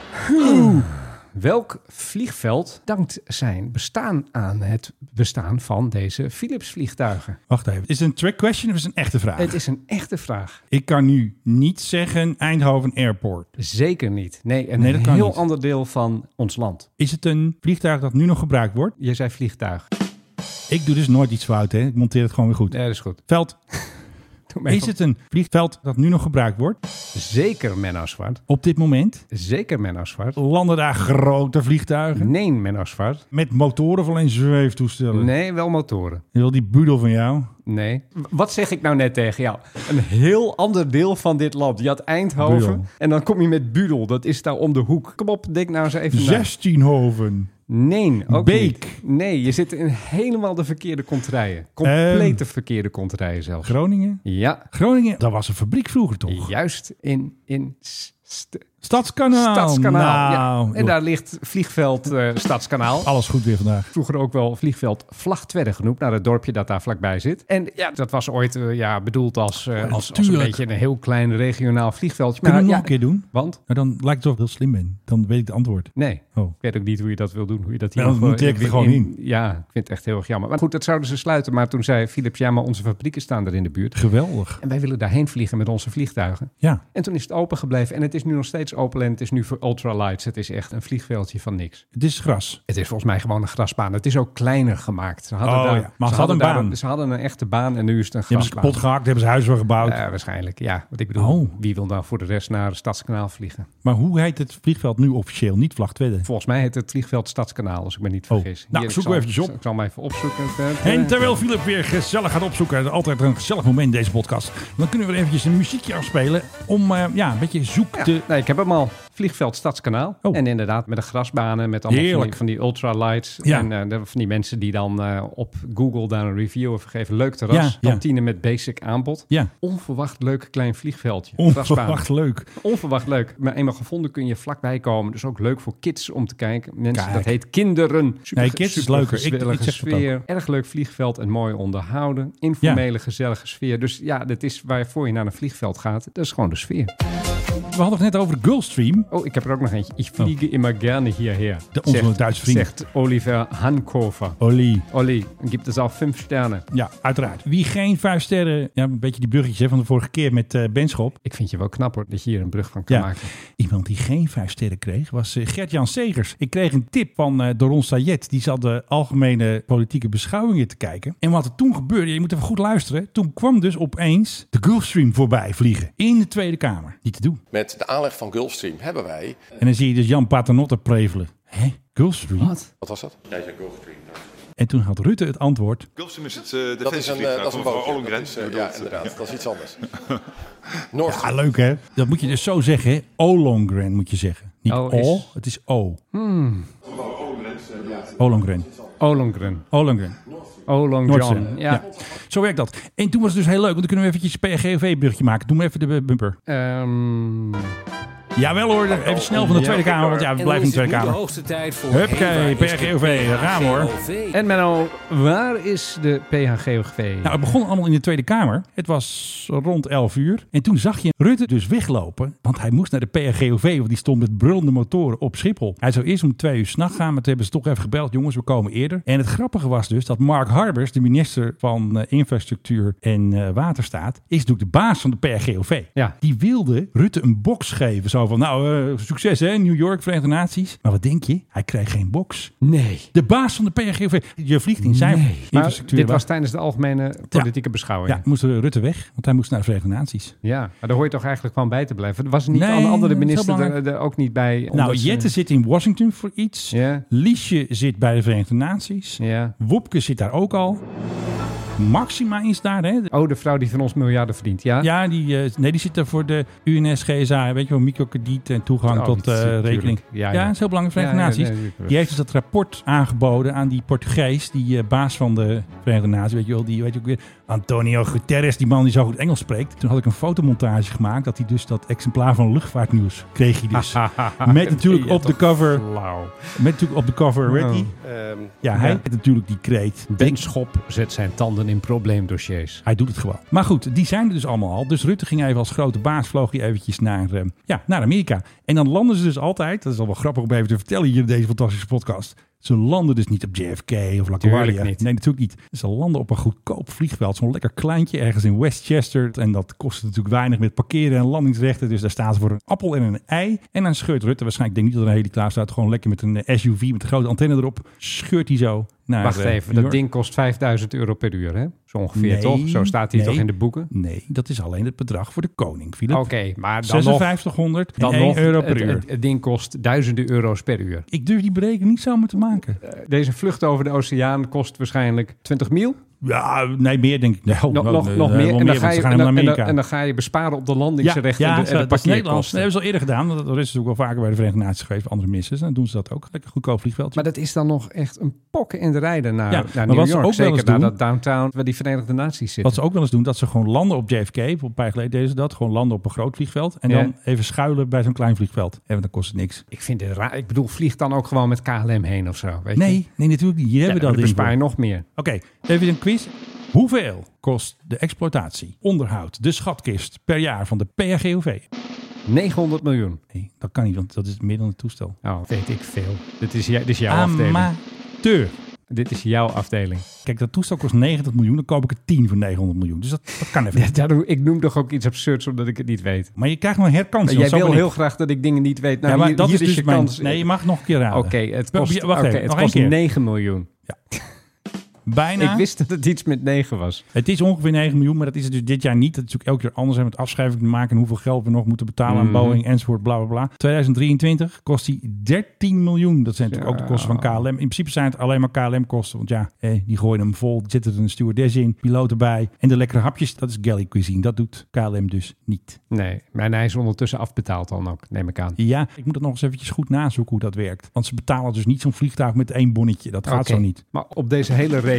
S8: Welk vliegveld dankt zijn bestaan aan het bestaan van deze Philips vliegtuigen?
S7: Wacht even. Is het een trick question of is het een echte vraag?
S8: Het is een echte vraag.
S7: Ik kan nu niet zeggen Eindhoven Airport.
S8: Zeker niet. Nee, een
S7: Nee, dat kan
S8: heel
S7: niet.
S8: ander deel van ons land.
S7: Is het een vliegtuig dat nu nog gebruikt wordt?
S8: Je zei vliegtuig.
S7: Ik doe dus nooit iets fout, hè? Ik monteer het gewoon weer goed.
S8: Nee, dat is goed.
S7: Veld.
S8: Doe maar
S7: Is
S8: even-
S7: het een vliegveld dat nu nog gebruikt wordt?
S8: Zeker Menno Zwart.
S7: Op dit moment
S8: Zeker Menno Zwart.
S7: landen daar grote vliegtuigen.
S8: Nee, Menno Zwart.
S7: Met motoren voor alleen zweeftoestellen.
S8: Nee, wel motoren.
S7: Wil die budel van jou?
S8: Nee. W- Wat zeg ik nou net tegen jou? Een heel ander deel van dit land. Je had Eindhoven
S7: Budel.
S8: en dan kom je met Budel. Dat is daar om de hoek. Kom op, denk nou eens even na.
S7: Zestienhoven.
S8: Nee, ook
S7: Beek.
S8: niet. Nee, je zit in helemaal de verkeerde kontrijen. Complete
S7: Ehm.
S8: verkeerde kontrijen zelfs.
S7: Groningen?
S8: Ja,
S7: Groningen, dat was een fabriek vroeger toch?
S8: juist in, in s- st-
S7: Stadskanaal.
S8: Stadskanaal.
S7: Nou,
S8: ja. En
S7: joh,
S8: daar ligt vliegveld eh, Stadskanaal.
S7: Alles goed weer vandaag.
S8: vroeger ook wel vliegveld Vlagtwedde genoemd, naar het dorpje dat daar vlakbij zit. En ja, dat was ooit eh, ja, bedoeld als, eh, als, als een
S7: Oh, tuurlijk.
S8: beetje een heel klein regionaal vliegveldje.
S7: Kunnen we
S8: Nou, ja,
S7: nog een keer doen?
S8: Want?
S7: Nou, dan lijkt het of ik heel slim ben. Dan weet ik het antwoord.
S8: Nee.
S7: Oh.
S8: Ik weet ook niet hoe je dat wil doen. Hoe je dat
S7: Ja, dan
S8: nog,
S7: moet
S8: eh,
S7: ik er gewoon in.
S8: Ja, ik vind het echt heel erg jammer. Maar goed, dat zouden ze sluiten. Maar toen zei Philips, ja, maar onze fabrieken staan er in de buurt.
S7: Geweldig.
S8: En wij willen daarheen vliegen met onze vliegtuigen.
S7: Ja.
S8: En toen is het open gebleven. En het is nu nog steeds open. En het is nu voor ultralights. Het is echt een vliegveldje van niks.
S7: Het is gras.
S8: Het is volgens mij gewoon een grasbaan. Het is ook kleiner gemaakt. Ze hadden
S7: Oh,
S8: daar,
S7: ja. Maar
S8: ze
S7: het had een
S8: daar-
S7: baan.
S8: ze hadden een echte baan en nu is het een
S7: Die hebben ze
S8: grasbaan.
S7: kapot gehakt, hebben ze huis weer gebouwd.
S8: Eh, waarschijnlijk, ja. Want ik bedoel,
S7: Oh.
S8: wie wil dan voor de rest naar Stadskanaal vliegen?
S7: Maar hoe heet het vliegveld nu officieel? Niet Vlagtwedde.
S8: Volgens mij heet het vliegveld Stadskanaal, als ik me niet
S7: Oh.
S8: vergis.
S7: Nou,
S8: ik
S7: zoek
S8: zal-
S7: hem eventjes op.
S8: Ik zal hem even opzoeken. Eh,
S7: En terwijl Philip weer gezellig gaat opzoeken, altijd een gezellig moment in deze podcast. Dan kunnen we er eventjes een muziekje afspelen om eh, ja, een beetje zoek
S8: Ja,
S7: te...
S8: nee, ik heb hem al. Vliegveld Stadskanaal.
S7: Oh.
S8: En inderdaad, met de grasbanen, met allemaal van die,
S7: Heerlijk.
S8: van die ultralights.
S7: Ja.
S8: En eh, de- van die mensen die dan eh, op Google daar een review over geven. Leuk terras,
S7: Ja, ja.
S8: kantine met basic aanbod.
S7: Ja,
S8: Onverwacht leuk klein vliegveldje. Grasbaan.
S7: onverwacht leuk.
S8: Onverwacht leuk. Maar eenmaal gevonden kun je vlakbij komen. Dus ook leuk voor kids om te kijken. Mensen,
S7: Kijk.
S8: dat heet kinderen. Super,
S7: Nee, kids is
S8: super
S7: leuker. Ik- ik
S8: gezellige
S7: zeg dat
S8: sfeer. Erg leuk vliegveld en mooi onderhouden. Informele, gezellige sfeer. Dus ja, dat is waarvoor je naar een vliegveld gaat. Dat is gewoon de sfeer.
S7: We hadden het net over Girlstream.
S8: Oh, ik heb er ook nog eentje. Ik vliege immer gerne hierher.
S7: Oh. De- onze Duitse vriend.
S8: Zegt Oliver Hankover.
S7: Olie.
S8: Olly, gibt es al vijf sterren?
S7: Ja, uiteraard. Wie geen vijf sterren... Ja, een beetje die bruggetjes hè, van de vorige keer met eh Benschop.
S8: Ik vind je wel knap hoor, dat je hier een brug van kan
S7: Ja,
S8: maken.
S7: iemand die geen vijf sterren kreeg was eh, Gert-Jan Segers. Ik kreeg een tip van eh Doron Sayed. Die zat de algemene politieke beschouwingen te kijken. En wat er toen gebeurde, je moet even goed luisteren. Toen kwam dus opeens de Gulfstream voorbij vliegen in de Tweede Kamer. Niet te doen.
S2: Met de aanleg van Gulfstream hebben wij...
S7: En dan zie je dus Jan Paternotte prevelen. Hé, Gulfstream?
S2: Wat was dat?
S7: En toen had Rutte het antwoord.
S9: Gulfstream is het
S2: Dat is een, eh, dat is een bootje.
S9: bootje.
S2: Dat is, eh, ja, inderdaad. Dat is iets anders. Nord Stream.
S7: Ah, leuk hè? Dat moet je dus zo zeggen, hè? Ollongren moet je zeggen. Niet
S8: O
S7: O,
S8: is-
S7: het is O. Ollongren.
S8: Olongren.
S7: Ollongren.
S8: Olong
S7: Noordzee.
S8: John.
S7: Ja.
S8: Ja.
S7: Zo werkt dat. En toen was het dus heel leuk, want dan kunnen we eventjes PGV-brugje maken. Doe maar even de bumper.
S8: Ehm,
S7: Jawel hoor, even snel van de Tweede Kamer, want ja, we
S3: En
S7: blijven in de
S3: dan is het
S7: Tweede
S3: nu
S7: Kamer.
S3: de hoogste tijd voor...
S7: Huppakee,
S3: Hey, waar is de
S7: PRGOV, daar gaan we, hoor.
S3: PRGOV?
S8: En Menno, waar is de PHGOV?
S7: Nou, het begon allemaal in de Tweede Kamer. Het was rond 11 uur. En toen zag je Rutte dus weglopen. Want hij moest naar de PRGOV, want die stond met brullende motoren op Schiphol. Hij zou eerst om twee uur s'nacht gaan, maar toen hebben ze toch even gebeld. Jongens, we komen eerder. En het grappige was dus dat Mark Harbers, de minister van eh, Infrastructuur en eh, Waterstaat, is natuurlijk de baas van de PRGOV.
S8: Ja.
S7: Die wilde Rutte een box geven. Zo van, nou, eh, succes hè, New York, Verenigde Naties. Maar wat denk je? Hij kreeg geen box.
S8: nee.
S7: De baas van de PRGOV. Je vliegt in zijn
S8: Maar
S7: infrastructuur.
S8: dit was tijdens de algemene politieke
S7: Ja,
S8: beschouwing. Oh, Ja.
S7: moest Rutte weg, want hij moest naar de Verenigde Naties.
S8: maar daar hoor je toch eigenlijk van bij te blijven. Er was niet
S7: Nee,
S8: alle andere
S7: dat is
S8: minister
S7: heel
S8: er, er ook niet bij.
S7: nou,
S8: omdat ze-
S7: Jette zit in Washington voor iets.
S8: Ja.
S7: Liesje zit bij de Verenigde Naties.
S8: Ja.
S7: Wopke zit daar ook al. Maxima is daar, hè?
S8: Oh, de vrouw die van ons miljarden verdient. Ja,
S7: Ja, die, eh, nee, die zit daar voor de UNS, GSA, weet je wel, microkrediet en toegang
S8: Oh,
S7: tot eh,
S8: natuurlijk.
S7: rekening.
S8: Ja,
S7: Ja,
S8: ja.
S7: dat is heel belangrijk voor de
S8: Ja, ja,
S7: Verenigde
S8: nee,
S7: Naties.
S8: natuurlijk.
S7: die heeft dus dat rapport aangeboden aan die Portugees, die eh, baas van de Verenigde Naties, weet je wel, die weet je ook weer, Antonio Guterres, die man die zo goed Engels spreekt. Toen had ik een fotomontage gemaakt dat hij dus dat exemplaar van luchtvaartnieuws kreeg hij
S8: (laughs)
S7: dus. met natuurlijk op de cover,
S8: Lauw.
S7: met natuurlijk op de cover, weet je?
S8: Oh.
S7: Ja, hij
S8: Ja.
S7: heeft natuurlijk die kreet.
S8: Ben Schop zet zijn tanden belanden in probleemdossiers.
S7: Hij doet het gewoon. Maar goed, die zijn er dus allemaal al. Dus Rutte ging even als grote baas, vloog hij eventjes naar, eh, ja, naar Amerika. En dan landen ze dus altijd, dat is al wel grappig om even te vertellen hier in deze fantastische podcast. Ze landen dus niet op JFK of LaGuardia.
S8: Tuurlijk niet.
S7: Nee, natuurlijk niet. Ze landen op een goedkoop vliegveld. Zo'n lekker kleintje ergens in Westchester. En dat kost natuurlijk weinig met parkeren en landingsrechten. Dus daar staan ze voor een appel en een ei. En dan scheurt Rutte, waarschijnlijk denk ik niet dat er een heli klaar staat. Gewoon lekker met een eh, SUV met een grote antenne erop. Scheurt hij zo naar
S8: Wacht
S7: eh, New
S8: even, dat
S7: York.
S8: ding kost 5000 euro per uur, hè? Zo ongeveer,
S7: Nee,
S8: toch? Zo staat hij
S7: nee.
S8: toch in de boeken?
S7: Nee, dat is alleen het bedrag voor de koning, Philip.
S8: Oké, maar dan nog,
S7: 5600
S8: dan
S7: en 1
S8: nog
S7: euro per
S8: het,
S7: uur.
S8: het- het ding kost duizenden euro's per uur.
S7: ik durf die berekening niet samen te maken.
S8: Deze vlucht over de oceaan kost waarschijnlijk 20 mil.
S7: Ja, nee, meer denk ik. Nee, oh,
S8: Nog,
S7: oh,
S8: nog,
S7: nee,
S8: nog
S7: wel
S8: meer. En dan,
S7: want
S8: ga je,
S7: ze
S8: en,
S7: gaan helemaal
S8: dan, en
S7: naar
S8: dan-
S7: Amerika.
S8: en dan ga je besparen op de
S7: ja,
S8: landingsrechten
S7: ja,
S8: en de, en de
S7: dat is Nederlands. Dat
S8: parkeerkosten.
S7: hebben ze al eerder gedaan. want Dat is natuurlijk wel vaker bij de Verenigde Naties geweest. Andere missies. Dan doen ze dat ook. Lekker goedkoop vliegveldje.
S8: Maar dat is dan nog echt een pokken en rijden naar,
S7: Ja,
S8: naar
S7: maar
S8: New
S7: wat ze
S8: York.
S7: ook wel
S8: Zeker
S7: eens
S8: naar
S7: doen-
S8: dat downtown waar die Verenigde Naties zitten.
S7: Wat ze ook wel eens doen, dat ze gewoon landen op JFK. Een paar jaar geleden deden ze dat. Gewoon landen op een groot vliegveld. En
S8: Ja.
S7: dan even schuilen bij zo'n klein vliegveld. En dan kost het niks.
S8: Ik vind het raar. Ik bedoel, vlieg dan ook gewoon met KLM heen of zo. Weet je?
S7: Nee, nee, natuurlijk niet. Hier
S8: Ja,
S7: hebben we
S8: dan
S7: dat ding voor.
S8: bespaar je nog meer.
S7: Oké, even een quiz. Hoeveel kost de exploitatie, onderhoud, de schatkist per jaar van de PRGOV?
S8: 900 miljoen.
S7: Nee, dat kan niet, want dat is meer dan het toestel.
S8: Oh, weet ik veel. Dit is, jij- dit is jouw afdeling.
S7: Amateur.
S8: Dit is jouw afdeling. (laughs)
S7: Kijk, dat toestel kost 90 miljoen, dan koop ik er 10 voor 900 miljoen. Dus dat, dat kan even. niet.
S8: Daardoor, ik noem toch ook iets absurds omdat ik het niet weet.
S7: Maar je krijgt nog een herkans.
S8: Maar
S7: want
S8: jij
S7: zo
S8: wil
S7: ben ik.
S8: heel graag dat ik dingen niet weet. Nou,
S7: ja, maar
S8: hier,
S7: dat
S8: hier
S7: is dus
S8: je
S7: mijn...
S8: kans.
S7: Nee, je mag nog een keer raden.
S8: Oké, het
S7: Wa-
S8: kost,
S7: ja, Wacht
S8: oké,
S7: even,
S8: het
S7: nog één
S8: kost
S7: keer.
S8: 9 miljoen.
S7: Bijna.
S8: Ik wist dat het iets met 9 was.
S7: Het is ongeveer 9 miljoen, maar dat is het dus dit jaar niet. Dat is natuurlijk elke keer anders en met afschrijving te maken en hoeveel geld we nog moeten betalen
S8: Mhm.
S7: aan Boeing enzovoort, bla bla bla. 2023 kost die 13 miljoen. Dat zijn natuurlijk ook de kosten van KLM. In principe zijn het alleen maar KLM kosten, want ja, eh, die gooien hem vol. Er zitten er een stewardess in, piloot erbij en de lekkere hapjes. Dat is galley cuisine. Dat doet KLM dus niet.
S8: Nee, maar hij is ondertussen afbetaald dan ook, neem ik aan.
S7: Ja, ik moet dat nog eens eventjes goed nazoeken hoe dat werkt. Want ze betalen dus niet zo'n vliegtuig met één bonnetje. Dat gaat
S8: Oké.
S7: zo niet.
S8: Maar op deze hele rekening,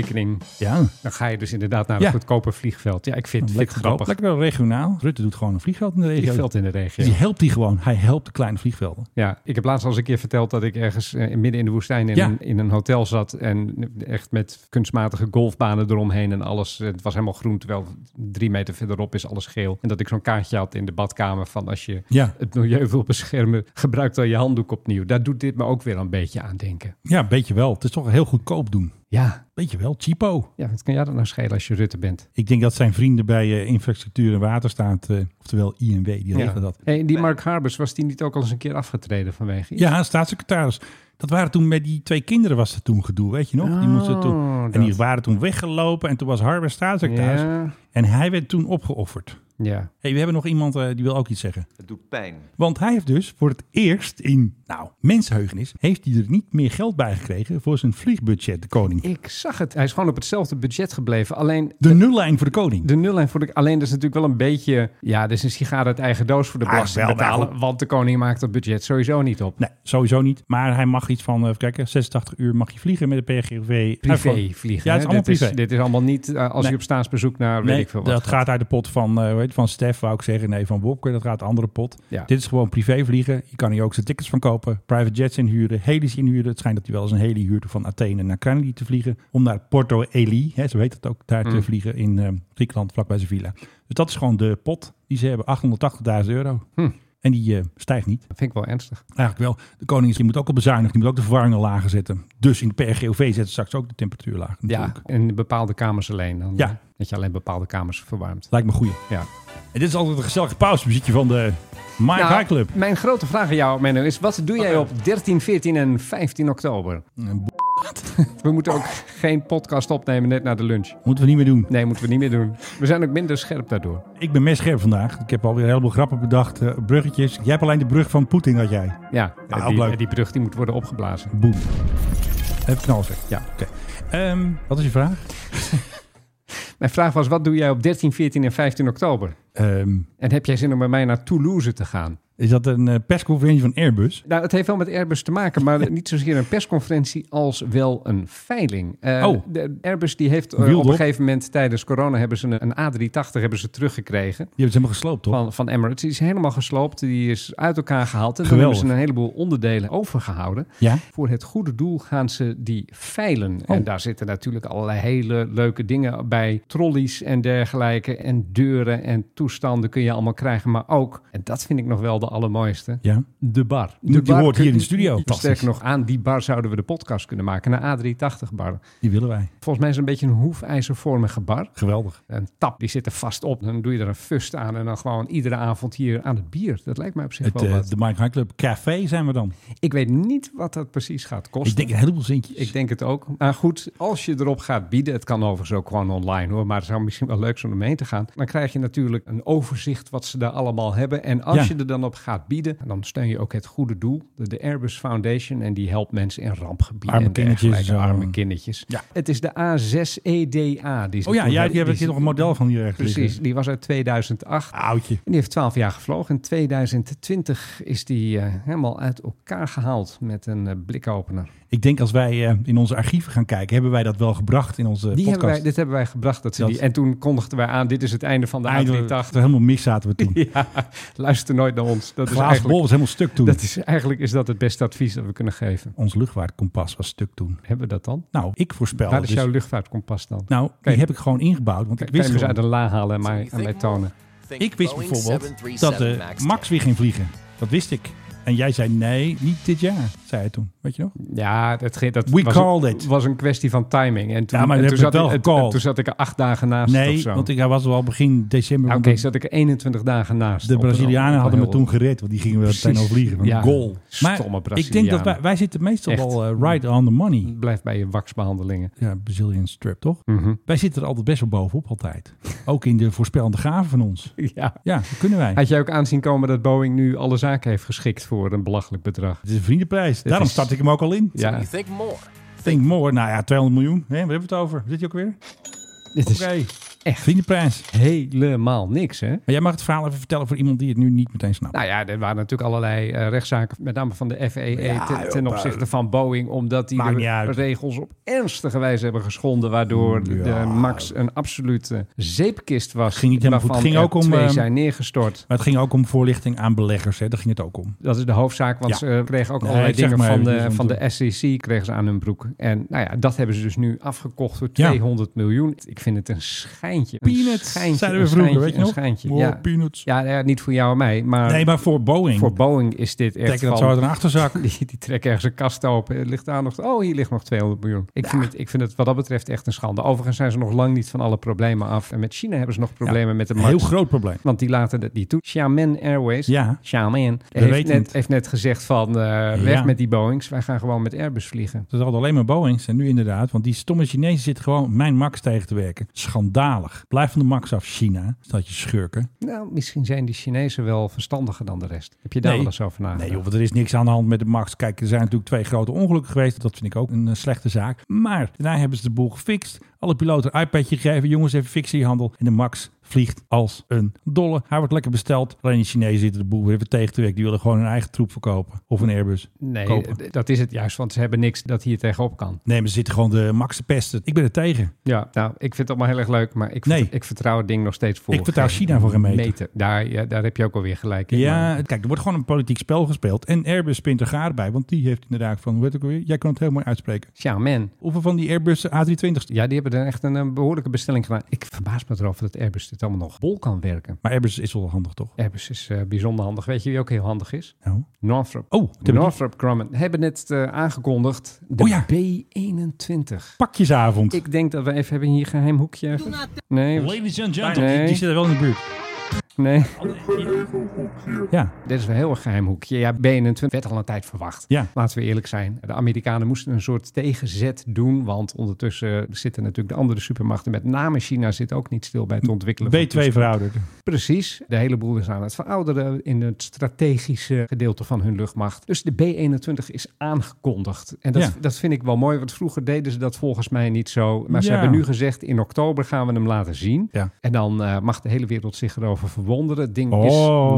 S7: Ja,
S8: dan ga je dus inderdaad naar een
S7: Ja.
S8: goedkoper vliegveld. Ja, ik vind, vind
S7: lekker
S8: het grappig.
S7: goedkoop. Lekker regionaal. Rutte doet gewoon een vliegveld in de regio.
S8: Vliegveld in de
S7: Dus Die
S8: regio.
S7: helpt die gewoon. Hij helpt de kleine vliegvelden.
S8: Ja, ik heb laatst al eens een keer verteld dat ik ergens eh, midden in de woestijn in,
S7: Ja.
S8: een, in een hotel zat. En echt met kunstmatige golfbanen eromheen en alles. Het was helemaal groen, terwijl drie meter verderop is alles geel. En dat ik zo'n kaartje had in de badkamer van als je
S7: Ja.
S8: het milieu wil beschermen, gebruik dan je handdoek opnieuw. Daar doet dit me ook weer een beetje aan denken.
S7: Ja, een beetje wel. Het is toch heel goedkoop doen.
S8: Ja,
S7: Beetje wel, cheapo.
S8: ja wat kan jij dat nou schelen als je Rutte bent?
S7: Ik denk dat zijn vrienden bij eh, infrastructuur en waterstaat, eh, oftewel INW, die regelen dat.
S8: Hey, die Mark Harbers, was die niet ook al eens een keer afgetreden vanwege iets?
S7: Ja, staatssecretaris. Dat waren toen met die twee kinderen was het toen gedoe, weet je nog? die moesten toen, en die
S8: dat.
S7: waren toen weggelopen en toen was Harber staatssecretaris.
S8: Ja.
S7: En hij werd toen opgeofferd.
S8: Ja.
S7: hey, we hebben nog iemand eh, die wil ook iets zeggen. Het doet pijn. Want hij heeft dus voor het eerst in, nou, mensheugenis, heeft hij er niet meer geld bij gekregen voor zijn vliegbudget, de koning.
S8: Ik zag het. Hij is gewoon op hetzelfde budget gebleven. Alleen
S7: De nullijn voor de koning.
S8: De nullijn vond ik alleen, dat is natuurlijk wel een beetje... Ja, dat is een sigaar uit eigen doos voor de
S7: Ah,
S8: belasting
S7: wel, maar
S8: betalen.
S7: goed.
S8: Want de koning maakt dat budget sowieso niet op.
S7: Nee, sowieso niet. Maar hij mag iets van, eh, even kijken, 86 uur mag je vliegen met de PRGV.
S8: Privé vliegen.
S7: Ja, het is
S8: hè?
S7: allemaal
S8: dit,
S7: privé.
S8: Is, dit is allemaal niet eh, als
S7: Nee.
S8: je op staatsbezoek naar weet
S7: Nee,
S8: ik veel wat.
S7: dat gaat. uit de pot van, eh, hoe heet het, van Stef, wou ik zeggen. Nee, van Wopke, dat gaat de andere pot.
S8: Ja.
S7: Dit is gewoon privé vliegen. Je kan hier ook zijn tickets van kopen. Private jets inhuren, helis inhuren. Het schijnt dat hij wel eens een heli huurde van Athene naar Kennedy te vliegen. Om naar Porto Eli, hè, zo heet het ook, daar
S8: Mm.
S7: te vliegen in eh, Griekenland, vlakbij Sevilla. Dus dat is gewoon de pot die ze hebben, 880.000 euro.
S8: Hm.
S7: En die eh, stijgt niet.
S8: Dat vind ik wel ernstig.
S7: Eigenlijk wel. De koning is, die moet ook al bezuinigen. Die moet ook de verwarming al lager zetten. Dus in de PRGOV zetten ze straks ook de temperatuur lager.
S8: Ja,
S7: natuurlijk.
S8: in bepaalde kamers alleen. Dan,
S7: Ja.
S8: eh, Dat je alleen bepaalde kamers verwarmt.
S7: Lijkt me een goeie.
S8: Ja.
S7: En dit is altijd een gezellig pauzemuziekje van de Mike
S8: Nou,
S7: High Club.
S8: Mijn grote vraag aan jou, Menno, is wat doe
S7: Oh.
S8: jij op 13, 14 en 15 oktober? (laughs) We moeten ook geen podcast opnemen net na de lunch.
S7: Moeten we niet meer doen.
S8: Nee, moeten we niet meer doen. We zijn ook minder scherp daardoor.
S7: Ik ben mes scherp vandaag. Ik heb alweer een heleboel grappen bedacht. eh, bruggetjes. Jij hebt alleen de brug van Poetin, had jij.
S8: Ja,
S7: Ja, ook
S8: die,
S7: leuk.
S8: die brug die moet worden opgeblazen.
S7: Boom. Even knallen zeg.
S8: Ja.
S7: Oké. Ehm, wat is je vraag?
S8: Mijn vraag was, wat doe jij op 13, 14 en 15 oktober?
S7: Ehm,
S8: En heb jij zin om met mij naar Toulouse te gaan?
S7: Is dat een eh, persconferentie van Airbus?
S8: Nou, het heeft wel met Airbus te
S7: (laughs)
S8: maken, maar niet zozeer een persconferentie als wel een veiling. Eh,
S7: Oh.
S8: de, Airbus die heeft eh,
S7: Wiel
S8: op
S7: erop.
S8: een gegeven moment tijdens corona hebben ze een, een A380 hebben ze teruggekregen.
S7: Die hebben ze helemaal gesloopt, toch?
S8: Van, van Emirates. Die is helemaal gesloopt. Die is uit elkaar gehaald. En dan
S7: Geweldig.
S8: hebben ze een heleboel onderdelen overgehouden.
S7: Ja. Oh.
S8: Voor het goede doel gaan ze die veilen. En daar zitten natuurlijk allerlei hele leuke dingen bij. Trolleys en dergelijke. En deuren en toestanden kun je allemaal krijgen. Maar ook, en dat vind ik nog wel de allermooiste,
S7: Ja.
S8: de bar.
S7: Die hoort hier in de studio. Fantastisch.
S8: Sterker nog, aan die bar zouden we de podcast kunnen maken. Een A380 bar.
S7: Die willen wij.
S8: Volgens mij is het een beetje een hoefijzervormige bar.
S7: Geweldig.
S8: Een tap, die zit er vast op. Dan doe je er een fust aan en dan gewoon iedere avond hier aan het bier. Dat lijkt mij op zich
S7: Het,
S8: wel
S7: eh,
S8: wat.
S7: de Mike High Club Café zijn we dan.
S8: Ik weet niet wat dat precies gaat kosten.
S7: Ik denk een heleboel zintjes.
S8: Ik denk het ook. Maar goed, als je erop gaat bieden, het kan overigens ook gewoon online hoor, maar het zou misschien wel leuk zijn om mee te gaan. Dan krijg je natuurlijk een overzicht wat ze daar allemaal hebben. En als
S7: Ja.
S8: je er dan op gaat bieden, dan steun je ook het goede doel, de, de Airbus Foundation. En die helpt mensen in rampgebieden.
S7: Arme
S8: en dergelijke,
S7: kindertjes en zo.
S8: Arme kindertjes.
S7: Ja.
S8: Het is de A6EDA. Die ze
S7: oh ja,
S8: toen
S7: jij
S8: hadden.
S7: hebt
S8: Die-
S7: hier nog een model van hier ergens
S8: Precies,
S7: liggen.
S8: die was uit 2008.
S7: Oudje.
S8: En die heeft 12 jaar gevlogen. In 2020 is die eh, helemaal uit elkaar gehaald met een eh, blikopener.
S7: Ik denk als wij eh, in onze archieven gaan kijken, hebben wij dat wel gebracht in onze
S8: Die
S7: podcast.
S8: hebben wij, dit hebben wij gebracht. Dat ze
S7: Dat-
S8: die, en toen kondigden wij aan, dit is het einde van de
S7: Eigenlijk,
S8: A380.
S7: helemaal mis zaten we toen.
S8: (laughs) Ja, luister nooit naar ons. Dat
S7: Glazen
S8: is
S7: bol
S8: eigenlijk,
S7: was helemaal stuk toen.
S8: dat is, eigenlijk is dat het beste advies dat we kunnen geven.
S7: Ons luchtvaartkompas was stuk toen.
S8: Hebben we dat dan?
S7: Nou, ik voorspel.
S8: Waar is
S7: dus-
S8: jouw luchtvaartkompas dan?
S7: Nou, die
S8: Kijk.
S7: heb ik gewoon ingebouwd, want
S8: Kijk,
S7: ik
S8: kan je
S7: wist
S8: hem eens
S7: gewoon.
S8: uit de la halen en mij, aan mij tonen.
S7: Ik wist bijvoorbeeld dat de Max weer ging vliegen. Dat wist ik. En jij zei nee, niet dit jaar, zei hij toen. Weet je nog?
S8: Ja, dat, ge- dat
S7: We
S8: was,
S7: called
S8: een,
S7: it.
S8: was een kwestie van timing. En toen,
S7: Ja, maar
S8: en
S7: dat
S8: toen,
S7: heb
S8: zat,
S7: je wel
S8: ik, en-
S7: gecalled.
S8: en toen zat ik er acht dagen naast of
S7: Nee,
S8: zo.
S7: want ik, hij was er al begin december.
S8: Ja, Ah, Oké,
S7: want de-
S8: zat ik er 21 dagen naast.
S7: Mhm. de
S8: Op een- op
S7: Brazilianen
S8: een
S7: hadden me
S8: heel-
S7: toen gered, want die gingen wel meteen al vliegen. Een
S8: Ja.
S7: goal.
S8: Stomme
S7: ik denk dat
S8: Brazilianen.
S7: wij, wij zitten meestal
S8: Echt.
S7: wel eh, right on the money.
S8: Blijf bij je waxbehandelingen.
S7: ja, Brazilian strip, toch?
S8: Mhm.
S7: Wij zitten er altijd best wel bovenop, altijd. Ook in de voorspellende gaven van ons.
S8: Ja.
S7: (laughs) Ja, dat kunnen wij.
S8: Had jij ook aanzien komen dat Boeing nu alle zaken heeft geschikt voor een belachelijk bedrag?
S7: Het is een vriendenprijs. Daarom
S8: is-
S7: start ik hem ook al in.
S8: Ja,
S2: Think more.
S7: Think more. Nou ja, 200 miljoen. Hè, waar hebben we het over? Zit je ook weer?
S8: dit is
S7: Oké. Echt. Vriendenprijs.
S8: helemaal niks, hè?
S7: Maar jij mag het verhaal even vertellen voor iemand die het nu niet meteen snapt.
S8: Nou ja, er waren natuurlijk allerlei eh, rechtszaken, met name van de FAA ten, ten opzichte van Boeing, omdat die
S7: Maakt niet
S8: de
S7: uit. Mm,
S8: regels op ernstige wijze hebben geschonden, waardoor de Max een absolute zeepkist was.
S7: Ging niet helemaal goed.
S8: waarvan
S7: Ging
S8: er
S7: ook om,
S8: twee
S7: eh,
S8: zijn neergestort.
S7: Maar het ging ook om voorlichting aan beleggers. Hè? Daar ging het ook om.
S8: Dat is de hoofdzaak, want
S7: Ja.
S8: ze eh, kregen ook
S7: Nee,
S8: allerlei
S7: ik zeg
S8: dingen
S7: maar
S8: van,
S7: even,
S8: de,
S7: dus
S8: van
S7: want-
S8: de SEC kregen ze aan hun broek. En nou ja, dat hebben ze dus nu afgekocht voor
S7: Ja.
S8: 200 miljoen. Ik vind het een schijntje. Een
S7: Peanuts,
S8: schijntje,
S7: zeiden
S8: een
S7: we vroeger,
S8: schijntje,
S7: weet je
S8: een
S7: nog?
S8: schijntje,
S7: Wow,
S8: ja.
S7: peanuts.
S8: Ja, nou ja, niet voor jou en mij, maar,
S7: nee, maar voor Boeing.
S8: voor Boeing is dit echt
S7: Trek je dat zo
S8: van-
S7: uit een achterzak.
S8: (laughs) Die, die trekken ergens een kast open. Er ligt daar nog. Oh, hier ligt nog 200 miljoen. Ik, vind het, ik vind het wat dat betreft echt een schande. Overigens zijn ze nog lang niet van alle problemen af. En met China hebben ze nog problemen met de
S7: Een
S8: markt.
S7: heel groot probleem.
S8: Want die laten dat niet toe. Xiamen Airways.
S7: Ja.
S8: Xiamen. Heeft
S7: weten het.
S8: net, heeft net gezegd van eh, weg
S7: Ja.
S8: met die Boeings. Wij gaan gewoon met Airbus vliegen.
S7: Dat hadden alleen maar Boeings. En nu inderdaad, want die stomme Chinezen zitten gewoon mijn Max tegen te werken. Schandalig. Blijf van de Max af, China. Dat je schurken.
S8: Nou, misschien zijn die Chinezen wel verstandiger dan de rest. Heb je daar
S7: Nee.
S8: wel eens over nagedacht?
S7: Nee joh, want er is niks aan de hand met de Max. Kijk, er zijn natuurlijk twee grote ongelukken geweest. Dat vind ik ook een eh, slechte zaak. Maar daarna hebben ze de boel gefixt. Alle piloten een iPadje gegeven. Jongens, even fixen die handel. En de Max vliegt als een dolle. Hij wordt lekker besteld. Alleen de Chinezen zitten de boel weer even tegen te werken. Die willen gewoon hun eigen troep verkopen. Of een Airbus
S8: Nee,
S7: kopen.
S8: d- dat is het juist. Want ze hebben niks dat hier tegenop kan.
S7: Nee, maar ze zitten gewoon de Max te pesten. Ik ben er tegen.
S8: Ja, nou, ik vind het allemaal heel erg leuk, maar ik,
S7: Nee.
S8: vert- ik vertrouw het ding nog steeds voor.
S7: Ik vertrouw
S8: geen
S7: China voor een meter.
S8: Daar, ja, daar heb je ook alweer gelijk in.
S7: Ja,
S8: maar-
S7: het- kijk, er wordt gewoon een politiek spel gespeeld. En Airbus spint er gaar bij, want die heeft inderdaad van, weet ik weer, jij kan het heel mooi uitspreken.
S8: Tja, man.
S7: Hoeveel van die Airbus A320's?
S8: Ja, die hebben er echt een, eh, behoorlijke bestelling gedaan. Ik verbaas me erover dat Airbus dit allemaal nog bol kan werken.
S7: Maar Airbus is wel handig, toch?
S8: Airbus is eh, bijzonder handig. Weet je wie ook heel handig is?
S7: Nou,
S8: Northrop.
S7: Oh, dat heb ik
S8: Northrop Grumman. Hebben net eh, aangekondigd de
S7: Oh ja.
S8: B-21.
S7: pakjesavond.
S8: Ik denk dat we even hebben hier een geheim hoekje. ergens. Nee,
S10: Ladies and gentlemen.
S7: Die, die
S8: nee,
S7: zitten wel in de buurt.
S8: nee.
S7: Ja,
S8: Dit is een heel geheim hoekje. Ja, B21 werd al een tijd verwacht.
S7: Ja.
S8: Laten we eerlijk zijn. De Amerikanen moesten een soort tegenzet doen. Want ondertussen eh, zitten natuurlijk de andere supermachten. Met name China zit ook niet stil bij het ontwikkelen. van
S7: B2 verouderd.
S8: Precies. De hele boel is aan het verouderen in het strategische gedeelte van hun luchtmacht. Dus de B-21 is aangekondigd. En dat,
S7: Ja.
S8: dat vind ik wel mooi, want vroeger deden ze dat volgens mij niet zo. Maar ze
S7: Ja.
S8: hebben nu gezegd, in oktober gaan we hem laten zien.
S7: Ja.
S8: En dan eh, mag de hele wereld zich erover verwonderen. Het ding
S7: Oh.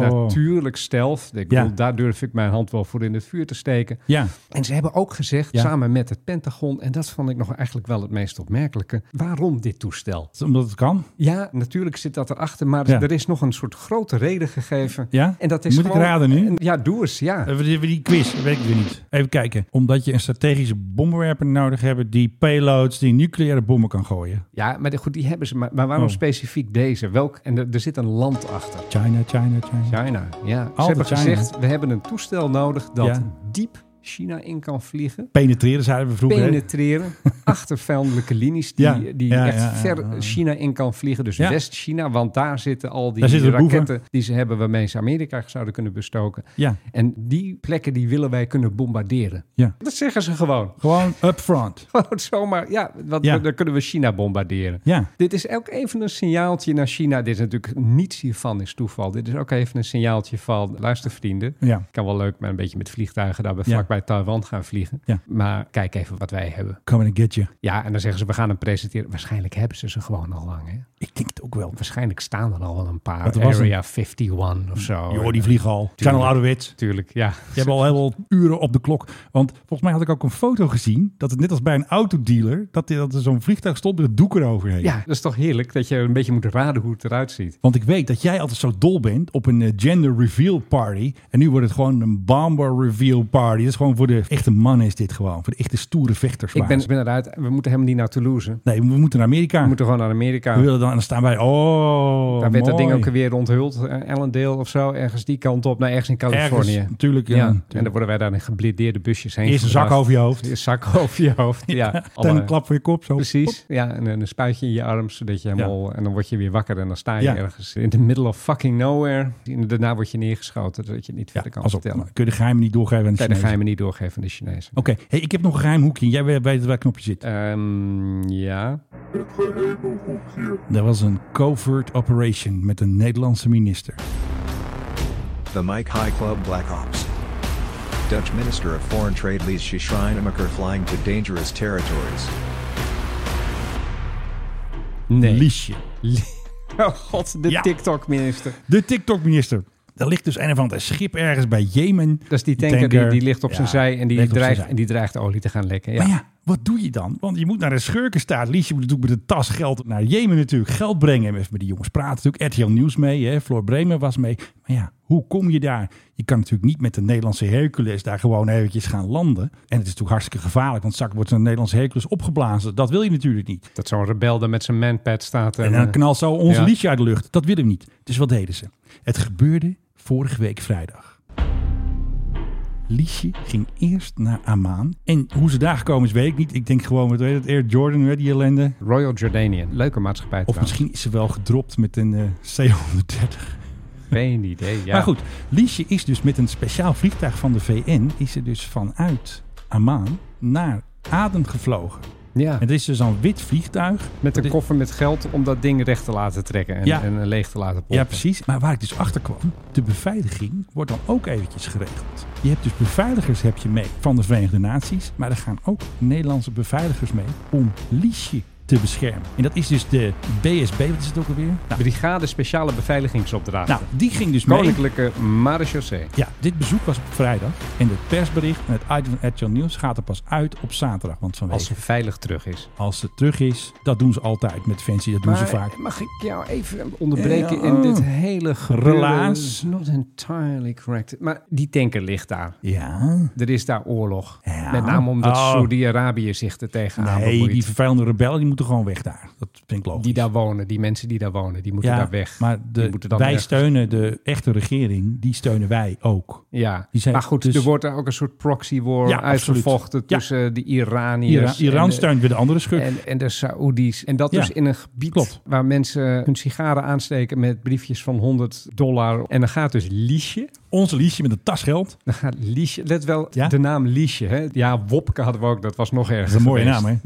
S8: is natuurlijk stealth. Ik
S7: Ja.
S8: bedoel, daar durf ik mijn hand wel voor in het vuur te steken.
S7: Ja.
S8: En ze hebben ook gezegd,
S7: Ja.
S8: samen met het Pentagon, en dat vond ik nog eigenlijk wel het meest opmerkelijke, waarom dit toestel?
S7: Omdat het kan.
S8: Ja, natuurlijk zit dat erachter, maar
S7: Ja.
S8: er is nog een soort grote reden gegeven.
S7: Ja?
S8: En dat is
S7: Moet ik
S8: gewoon-
S7: raden nu? Eh.
S8: en- Ja, doe eens, ja.
S7: Even die, die quiz, weet ik weer niet. Even kijken. Omdat je een strategische bommenwerper nodig hebt die payloads, die nucleaire bommen kan gooien.
S8: Ja, maar de- goed, die hebben ze. Maar, maar waarom
S7: Oh.
S8: specifiek deze? Welk, en er, er zit een land achter.
S7: China, China, China.
S8: China, ja. ze hebben
S7: China.
S8: gezegd, we hebben een toestel nodig dat
S7: Ja.
S8: diep China in kan vliegen.
S7: Penetreren zeiden we vroeger. hè? (laughs)
S8: Penetreren achter vijandelijke linies die,
S7: Ja,
S8: die
S7: ja,
S8: echt
S7: ja, ja,
S8: ver
S7: ja.
S8: China in kan vliegen. Dus
S7: Ja.
S8: West-China, want daar zitten al die
S7: Daar zitten de boeven.
S8: raketten die ze hebben waarmee ze Amerika zouden kunnen bestoken.
S7: Ja.
S8: En die plekken die willen wij kunnen bombarderen.
S7: Ja.
S8: Dat zeggen ze gewoon. (laughs)
S7: Gewoon upfront.
S8: Gewoon zomaar, ja, want
S7: Ja.
S8: we- dan kunnen we China bombarderen.
S7: Ja.
S8: Dit is ook even een signaaltje naar China. Dit is natuurlijk niets hiervan is toeval. Dit is ook even een signaaltje van, luister vrienden.
S7: Ja.
S8: Kan wel leuk, maar een beetje met vliegtuigen daar bij
S7: Ja.
S8: vlakbij Taiwan gaan vliegen.
S7: Ja.
S8: Maar kijk even wat wij hebben.
S7: Coming to get you.
S8: Ja, en dan zeggen ze, we gaan hem presenteren. Waarschijnlijk hebben ze ze gewoon al lang, hè?
S7: Ik denk het ook wel.
S8: Waarschijnlijk staan er al wel een paar.
S7: Wat was het?
S8: Area 51 of zo.
S7: Joh, die vliegen al. Ze zijn al ouderwets.
S8: Tuurlijk, ja.
S7: Je hebt al heel veel uren op de klok. Want volgens mij had ik ook een foto gezien. Dat het net als bij een autodealer. Dat, dat er zo'n vliegtuig stond met een doek eroverheen.
S8: Ja, dat is toch heerlijk dat je een beetje moet raden hoe het eruit ziet.
S7: Want ik weet dat jij altijd zo dol bent op een eh, gender reveal party. En nu wordt het gewoon een bomber reveal party. Dat is gewoon voor de echte mannen is dit gewoon. Voor de echte stoere vechters.
S8: Ik ben, ik ben eruit. We moeten helemaal niet naar Toulouse.
S7: Nee, we moeten naar Amerika.
S8: We moeten gewoon naar Amerika.
S7: We willen dan, en dan staan wij... Oh,
S8: Daar werd dat
S7: mooi.
S8: ding ook weer onthuld. Eh, Allendale of zo, ergens die kant op. Nou, ergens in Californië.
S7: Ergens, natuurlijk. Ja,
S8: ja, en dan
S7: natuurlijk.
S8: worden wij daar in geblindeerde busjes heen
S7: Eerst een
S8: gebracht.
S7: zak over je hoofd.
S8: Eerst een zak (laughs) over je hoofd,
S7: (laughs)
S8: ja.
S7: Dan
S8: Alle-
S7: een klap voor je kop. Zo.
S8: Precies, ja. En een spuitje in je arm, zodat je helemaal... En dan word je weer wakker en dan sta je
S7: Ja.
S8: ergens in the middle of fucking nowhere. En daarna word je neergeschoten, zodat je het niet
S7: Ja,
S8: verder kan
S7: pas op.
S8: vertellen.
S7: Kun je de geheimen niet doorgeven aan de
S8: Kan je de
S7: Chinezen.
S8: geheimen niet doorgeven aan de Chinezen.
S7: Oké, hey, ik heb nog een geheim hoekje. Jij weet weet waar het knopje zit.
S8: Ehm, ja.
S7: Er was een covert operation met een Nederlandse minister.
S9: The Mike High Club Black Ops. Dutch Minister of Foreign Trade Lees Schrijnemaker flying to dangerous territories.
S8: Nee.
S7: Liesje.
S8: Oh god, de
S7: Ja.
S8: TikTok-minister.
S7: De TikTok-minister. Er ligt dus een of ander schip ergens bij Jemen.
S8: Dat is die tanker, Die, die ligt op zijn zij en die, dreigt, en
S7: die...
S8: die dreigt olie te gaan lekken. Ja.
S7: Maar ja, wat doe je dan? Want je moet naar een schurkenstaat. Liesje moet natuurlijk met een tas geld naar Jemen natuurlijk. Geld brengen. En even met die jongens praten natuurlijk. RTL Nieuws mee. Hè. Floor Bremer was mee. Maar ja, hoe kom je daar? Je kan natuurlijk niet met de Nederlandse Hercules daar gewoon eventjes gaan landen. En het is natuurlijk hartstikke gevaarlijk. Want straks wordt zo'n Nederlandse Hercules opgeblazen. Dat wil je natuurlijk niet.
S8: Dat zo'n rebel daar met zijn manpad staat. En,
S7: En dan
S8: eh,
S7: knalt zo onze
S8: ja.
S7: liedje uit de lucht. Dat willen we niet. Dus wat deden ze? Het gebeurde vorige week vrijdag. Liesje ging eerst naar Amman. En hoe ze daar gekomen is, weet ik niet. Ik denk gewoon, wat weet het, Air Jordan, hè, die ellende.
S8: Royal Jordanian. Leuke maatschappij
S7: Of
S8: trouwens.
S7: misschien is ze wel gedropt met een eh, C-130.
S8: Geen idee. Ja.
S7: Maar goed, Liesje is dus met een speciaal vliegtuig van de VN... is ze dus vanuit Amman naar Aden gevlogen.
S8: Ja,
S7: En het is dus een wit vliegtuig.
S8: met
S7: Dat
S8: een
S7: is-
S8: koffer met geld om dat ding recht te laten trekken. En,
S7: Ja.
S8: en eh, leeg te laten pompen.
S7: Ja, precies. Maar waar ik dus achter kwam, de beveiliging wordt dan ook eventjes geregeld. Je hebt dus beveiligers heb je mee van de Verenigde Naties, maar er gaan ook Nederlandse beveiligers mee om Liesje te beschermen. En dat is dus de BSB, wat is het ook alweer? Nou,
S8: Brigade Speciale Beveiligingsopdracht.
S7: nou die ging dus mee.
S8: Koninklijke marechaussee.
S7: Ja, dit bezoek was op vrijdag en het persbericht en het item van RTL Nieuws gaat er pas uit op zaterdag. Want vanwege
S8: Als
S7: als,
S8: ze veilig terug is.
S7: het terug is, dat doen ze altijd met fancy, dat doen ze vaak.
S8: mag ik jou even onderbreken
S7: Ja.
S8: in dit hele gebeuren?
S7: Relaas.
S8: Oh. Not entirely correct. Maar die tanker ligt daar.
S7: Ja,
S8: Er is daar oorlog.
S7: Ja.
S8: Met name omdat
S7: Oh.
S8: Saudi-Arabië zich er tegenaan
S7: nee,
S8: bemoeit.
S7: die vervuilende rebellen die moeten gewoon weg daar. Dat vind ik logisch.
S8: die daar wonen, die mensen die daar wonen, die moeten daar weg.
S7: Maar
S8: Die
S7: de,
S8: moeten
S7: wij
S8: dan ergens-
S7: steunen de echte regering, die steunen wij ook.
S8: Ja,
S7: die zijn-
S8: maar goed,
S7: dus-
S8: er wordt daar ook een soort proxy war
S7: Ja,
S8: uitgevochten
S7: absoluut. Ja.
S8: tussen de Iraniërs
S7: Ira- Iran
S8: en, de,
S7: steunt weer de andere schurk.
S8: en, en de Saoedi's. En dat
S7: Ja,
S8: dus in een gebied
S7: klopt.
S8: waar mensen hun sigaren aansteken met briefjes van 100 dollar. En dan gaat dus Liesje,
S7: Onze Liesje met een tasgeld.
S8: dan gaat Liesje, let wel,
S7: Ja?
S8: de naam Liesje. Hè? Ja, Wopke hadden we ook, dat was nog ergens (laughs)
S7: Dat is een mooie naam,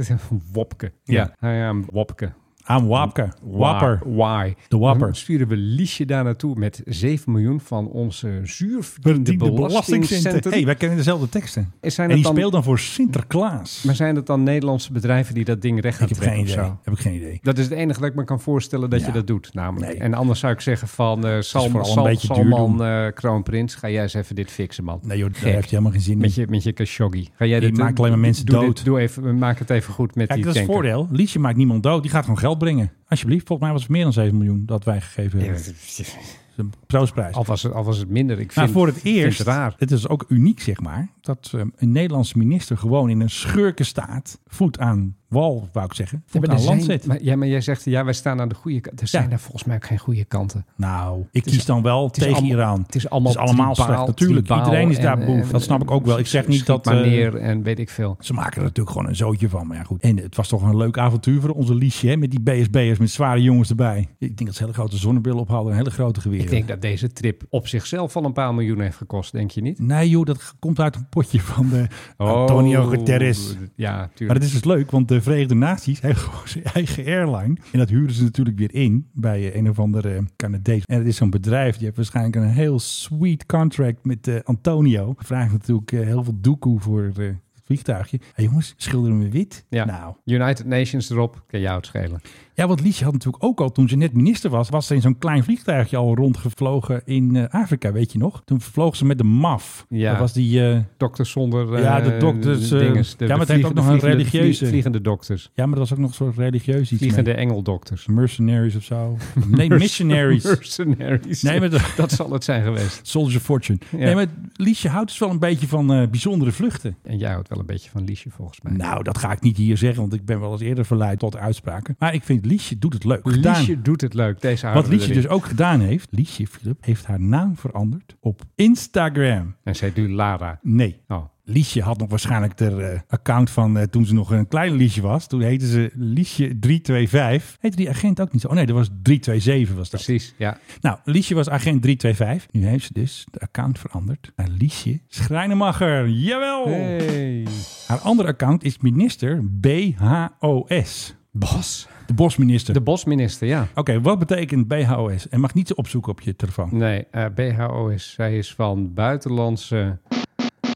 S8: Wopke, Ah, ja. ja. ja, Wopke.
S7: Aan Wapka. Wapper.
S8: Why?
S7: De Wapper.
S8: Dan sturen we Liesje daar naartoe met 7 miljoen van onze zuurverdiende belastingcenten.
S7: hey, wij kennen dezelfde teksten.
S8: En zijn
S7: en die
S8: het dan-
S7: speelt dan voor Sinterklaas.
S8: Maar zijn het dan Nederlandse bedrijven die dat ding recht gaan
S7: ik heb geen
S8: trekken of
S7: idee.
S8: zo?
S7: Heb ik geen idee.
S8: Dat is het enige dat ik me kan voorstellen dat je dat doet, namelijk.
S7: Nee.
S8: En anders zou ik zeggen van eh Salm,
S7: vooral een
S8: Sal-
S7: beetje duur
S8: Salman eh, Kroonprins, ga jij eens even dit fixen, man.
S7: Nee joh, daar
S8: Gek.
S7: heeft hij helemaal geen zin in.
S8: Met je, met je Khashoggi. Ga jij
S7: Die
S8: dit,
S7: maakt alleen maar mensen
S8: doe dit-
S7: dood.
S8: doe even, maak het even goed met
S7: Kijk,
S8: die
S7: dat is het
S8: tanker.
S7: voordeel. Liedje maakt niemand dood. Die gaat gewoon geld brengen. Alsjeblieft. Volgens mij was het meer dan 7 miljoen dat wij gegeven hebben. Dat is een troostprijs.
S8: Al was, het, al was het minder. Ik vind,
S7: Maar Nou, voor het
S8: ik vind
S7: eerst,
S8: het raar.
S7: het is ook uniek zeg maar, dat ehm, een Nederlandse minister gewoon in een schurkenstaat voet aan wal, wou ik zeggen, voet
S8: er
S7: aan land
S8: zijn-
S7: zit.
S8: maar, ja, maar jij zegt, ja, wij staan aan de goede kant. Er zijn daar volgens mij ook geen goede kanten.
S7: Nou, ik kies dan wel
S8: is
S7: tegen
S8: allemaal-
S7: Iran.
S8: het is allemaal tribaal,
S7: slecht. Natuurlijk,
S8: tribaal
S7: iedereen is daar
S8: en-
S7: boef.
S8: en-
S7: dat snap ik ook wel. Ik zeg niet
S8: Schiet
S7: dat...
S8: maar
S7: eh,
S8: neer en weet ik veel.
S7: ze maken er natuurlijk gewoon een zootje van. Maar ja, goed. En het was toch een leuk avontuur voor onze Liesje. Hè? Met die BSB'ers met zware jongens erbij. Ik denk dat ze hele grote zonnebrillen op hadden. En hele grote geweren.
S8: Ik denk dat deze trip op zichzelf al een paar miljoen heeft gekost, denk je niet?
S7: Nee joh, dat komt uit een potje van de
S8: Oh,
S7: Antonio Guterres.
S8: Ja,
S7: Maar
S8: tuurlijk.
S7: het is dus leuk, want de Verenigde Naties heeft (laughs) gewoon zijn eigen airline. En dat huren ze natuurlijk weer in bij eh, een of andere Canadees. En het is zo'n bedrijf, die heeft waarschijnlijk een heel sweet contract met eh, Antonio. Vraagt natuurlijk eh, heel veel doekoe voor eh, het vliegtuigje. Hé jongens, schilderen we wit?
S8: Ja.
S7: Nou.
S8: United Nations erop, kan jou het schelen.
S7: Ja, want Liesje had natuurlijk ook al, toen ze net minister was, was ze in zo'n klein vliegtuigje al rondgevlogen in eh, Afrika, weet je nog? Toen vloog ze met de MAF.
S8: Ja.
S7: Dat was die... eh,
S8: Dokters zonder eh,
S7: Ja, de dokters, eh,
S8: dinges.
S7: ja, maar het heeft ook nog een
S8: vliegende- vlie-
S7: religieuze-
S8: Vliegende dokters.
S7: ja, maar dat was ook nog zo'n religieus iets mee.
S8: Vliegende engeldokters.
S7: Mercenaries of zo.
S8: (laughs)
S7: Nee, missionaries.
S8: Mercenaries.
S7: Nee, maar dat-
S8: (laughs) dat zal het zijn geweest.
S7: Soldier Fortune. Nee, maar Liesje houdt dus wel een beetje van eh, bijzondere vluchten.
S8: En jij houdt wel een beetje van Liesje volgens mij.
S7: Nou, dat ga ik niet hier zeggen, want ik ben wel eens eerder verleid tot uitspraken. Maar ik vind Liesje doet het leuk. Gedaan.
S8: Liesje doet het leuk. Deze
S7: Wat
S8: houden we
S7: Liesje
S8: erin.
S7: dus ook gedaan heeft, Liesje Philip, heeft haar naam veranderd op Instagram.
S8: En zij doet Lara.
S7: Nee.
S8: Oh.
S7: Liesje had nog waarschijnlijk haar eh, account van eh, toen ze nog een klein Liesje was. Toen heette ze Liesje 325. Heette die agent ook niet zo? Oh nee, dat was 327 was dat.
S8: Precies, ja.
S7: Nou, Liesje was agent 325. Nu heeft ze dus de account veranderd naar Liesje Schrijnemacher. Jawel!
S8: Hey.
S7: Haar andere account is minister BHOS.
S8: Bas?
S7: De bosminister.
S8: De bosminister, ja.
S7: Oké, wat betekent BHOS? En mag niet ze opzoeken op je telefoon.
S8: Nee, eh, BHO is, zij is van buitenlandse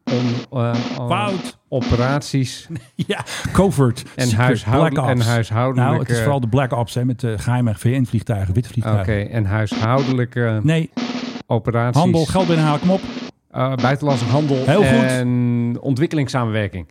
S8: on- eh, on-
S7: Fout. (laughs)
S8: operaties.
S7: Ja, covert. secret,
S8: huishoudel-
S7: black ops.
S8: en huishoudelijke-
S7: Nou, het is vooral de black ops hè, met eh, geheime VN-vliegtuigen, witte
S8: Oké,
S7: vliegtuigen.
S8: en huishoudelijke
S7: Nee,
S8: operaties.
S7: handel, geld binnenhalen, kom op.
S8: Eh, buitenlandse handel
S7: Heel goed.
S8: en ontwikkelingssamenwerking.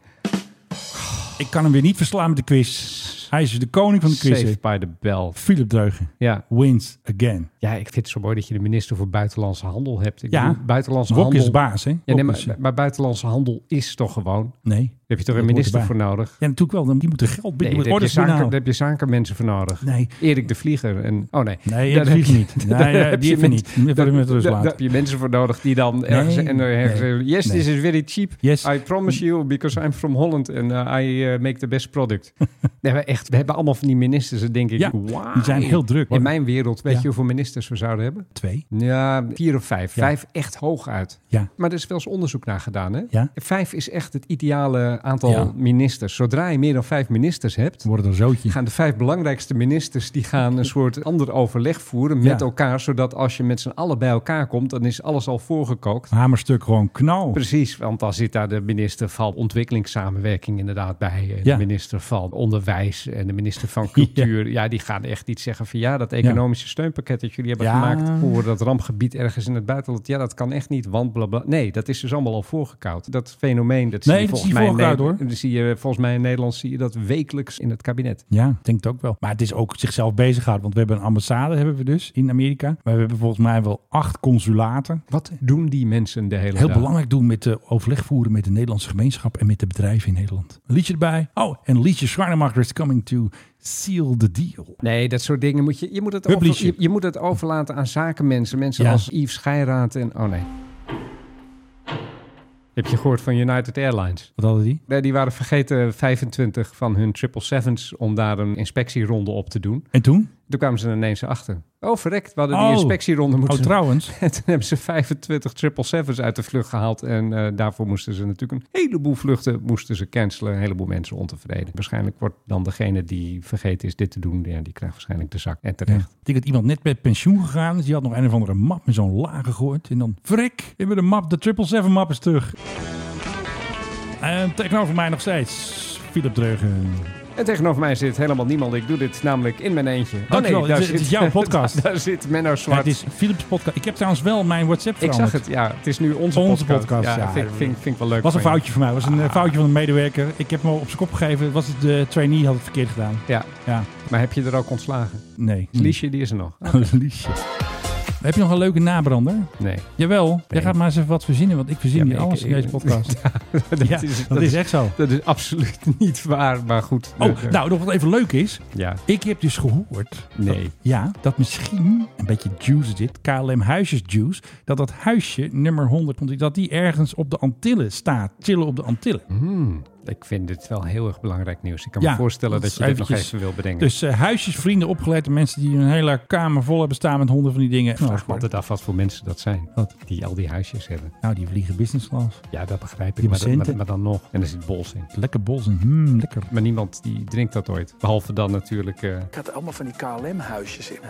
S7: Ik kan hem weer niet verslaan met de quiz. Hij is de koning van de quiz.
S8: Saved by the bell.
S7: Philip Dreugen
S8: Ja.
S7: wins again.
S8: ja, ik vind het zo mooi dat je de minister voor buitenlandse handel hebt. Ik
S7: Ja.
S8: bedoel, buitenlandse
S7: Wok
S8: handel...
S7: is de baas, hè?
S8: Ja,
S7: Wok
S8: nee,
S7: is-
S8: maar, maar buitenlandse handel is toch gewoon... Daar
S7: Nee.
S8: heb je toch
S7: Dat
S8: een
S7: hoort
S8: minister
S7: erbij.
S8: voor nodig?
S7: Ja, natuurlijk wel. Dan die moeten geld
S8: Nee,
S7: binnen
S8: daar heb, je
S7: orders
S8: zaken, daar
S7: binnenhalen.
S8: heb je zakenmensen voor nodig.
S7: Nee.
S8: Erik de Vlieger. En, oh nee.
S7: Nee, Erik
S8: Daar
S7: de
S8: heb
S7: Vlieger
S8: je-
S7: niet.
S8: daar
S7: Nee, ja,
S8: heb
S7: die
S8: je
S7: even
S8: men-
S7: niet. Die even met rust
S8: daar-
S7: laten.
S8: daar heb je mensen voor nodig die dan ergens... en dan ergens,
S7: nee,
S8: eh, yes,
S7: nee.
S8: this is very cheap.
S7: Yes.
S8: I promise you, because I'm from Holland and uh, I eh, make the best
S7: (laughs)
S8: product. nee, maar echt, we hebben allemaal van die ministers. Dan denk ik,
S7: Ja,
S8: why?
S7: die zijn heel druk, hoor.
S8: In mijn wereld, weet
S7: Ja.
S8: je hoeveel ministers we zouden hebben?
S7: Twee.
S8: Ja, vier of vijf.
S7: Ja.
S8: Vijf echt hooguit.
S7: Ja.
S8: Maar er is wel eens onderzoek naar gedaan. Hè?
S7: Ja.
S8: Vijf is echt het ideale aantal
S7: Ja.
S8: ministers. Zodra je meer dan vijf ministers hebt,
S7: Ze worden een zootje.
S8: gaan de vijf belangrijkste ministers die gaan een soort ander overleg voeren met
S7: Ja.
S8: elkaar. Zodat als je met z'n allen bij elkaar komt, dan is alles al voorgekookt.
S7: Hamerstuk gewoon knal.
S8: Precies, want dan zit daar de minister van ontwikkelingssamenwerking inderdaad bij. eh, De
S7: Ja.
S8: minister van onderwijs en de minister van cultuur. (laughs) Ja. die gaan echt iets zeggen van ja, dat economische steunpakket dat jullie hebben
S7: Ja.
S8: gemaakt voor dat rampgebied ergens in het buitenland. Ja, dat kan echt niet, want blablabla. Nee, dat is dus allemaal al voorgekoud. Dat fenomeen, dat
S7: Nee,
S8: zie je
S7: dat is
S8: volgens
S7: niet
S8: mij in
S7: voorgekoud,
S8: Nederland-
S7: hoor.
S8: dat zie je volgens mij in Nederland zie je dat wekelijks in het kabinet.
S7: Ja, ik denk het ook wel. Maar het is ook zichzelf bezighouden. Want we hebben een ambassade hebben we dus in Amerika. Maar we hebben volgens mij wel acht consulaten.
S8: Wat doen die mensen de hele
S7: Heel
S8: dag?
S7: belangrijk doen met eh, overleg voeren met de Nederlandse gemeenschap en met de bedrijven in Nederland. Een liedje erbij. Oh, en liedje Schwarnemacher is coming to seal the deal.
S8: Nee, dat soort dingen moet je. Je moet het, over,
S7: Publisher.
S8: je, je moet het overlaten aan zakenmensen. Mensen
S7: Ja.
S8: als Yves Scheiraat en. Oh nee. Heb je gehoord van United Airlines?
S7: Wat hadden die?
S8: Nee, die waren vergeten 25 van hun 777's om daar een inspectieronde op te doen.
S7: En toen?
S8: Toen kwamen ze er ineens achter. Oh, verrekt. We hadden
S7: Oh.
S8: die inspectieronde moeten
S7: Oh, trouwens.
S8: (laughs) En toen hebben ze 25 777's uit de vlucht gehaald. En eh, daarvoor moesten ze natuurlijk een heleboel vluchten moesten ze cancelen. Een heleboel mensen ontevreden. Waarschijnlijk wordt dan degene die vergeten is dit te doen, ja, die krijgt waarschijnlijk de zak. En
S7: Ja.
S8: terecht.
S7: Ik denk dat iemand net met pensioen gegaan is. Die had nog een of andere map met zo'n laag gegooid. En dan, frik, we hebben de map, de 777 map is terug. En tegenover mij nog steeds, Philip Dreugen.
S8: En tegenover mij zit helemaal niemand. Ik doe dit namelijk in mijn eentje. Oh
S7: Dankjewel,
S8: nee, daar
S7: het is-
S8: zit,
S7: het is jouw podcast.
S8: (laughs) daar zit Menno
S7: Ja,
S8: Zwart.
S7: het is Philips podcast. Ik heb trouwens wel mijn WhatsApp
S8: ik
S7: veranderd.
S8: zag het, ja. Het is nu onze,
S7: Onze podcast, ja.
S8: vind, ik- vind, vind ik wel leuk.
S7: was een
S8: van je.
S7: foutje van mij. was
S8: Ah.
S7: een eh, foutje van een medewerker. Ik heb hem al op zijn kop gegeven. Was het de trainee had het verkeerd gedaan.
S8: Ja,
S7: Ja, Mm.
S8: maar heb je er ook ontslagen?
S7: nee. (laughs)
S8: Liesje, die is er nog.
S7: Liesje. Heb je nog een leuke nabrander?
S8: Nee. (laughs)
S7: Jawel. Jij gaat maar eens even wat verzinnen. Want ik verzin
S8: Ja,
S7: hier
S8: maar ik-
S7: alles in
S8: ik-
S7: deze
S8: (laughs)
S7: podcast.
S8: dat,
S7: Ja, dat is echt zo.
S8: Dat is absoluut (laughs) niet waar, maar goed.
S7: Oh,
S8: Eh,
S7: nou, nog wat even leuk is.
S8: Ja.
S7: Ik heb dus gehoord.
S8: Nee.
S7: Dat, ja, dat misschien een beetje juice dit, KLM huisjesjuice, dat dat huisje nummer 100, dat die ergens op de Antillen staat, chillen op de Antillen.
S8: Ik vind dit wel heel erg belangrijk nieuws. Ik kan
S7: Ja,
S8: me voorstellen
S7: dat
S8: dat
S7: is
S8: je dit nog
S7: eventjes-
S8: even wil bedenken.
S7: Dus eh, huisjesvrienden opgeleid, mensen die hun hele kamer vol hebben staan met honden van die dingen. Nou,
S8: ik vraag me altijd af wat voor mensen dat zijn.
S7: Wat?
S8: Die al die huisjes hebben.
S7: Nou, die vliegen business class.
S8: Ja, dat begrijp ik.
S7: Die
S8: Maar, dat- maar,
S7: patiënten.
S8: maar dan nog. En er zit bols in.
S7: Lekker bols en hmm, lekker.
S8: Maar niemand die drinkt dat ooit. Behalve dan natuurlijk... eh,
S4: Ik had allemaal van die KLM-huisjes in.
S7: Oh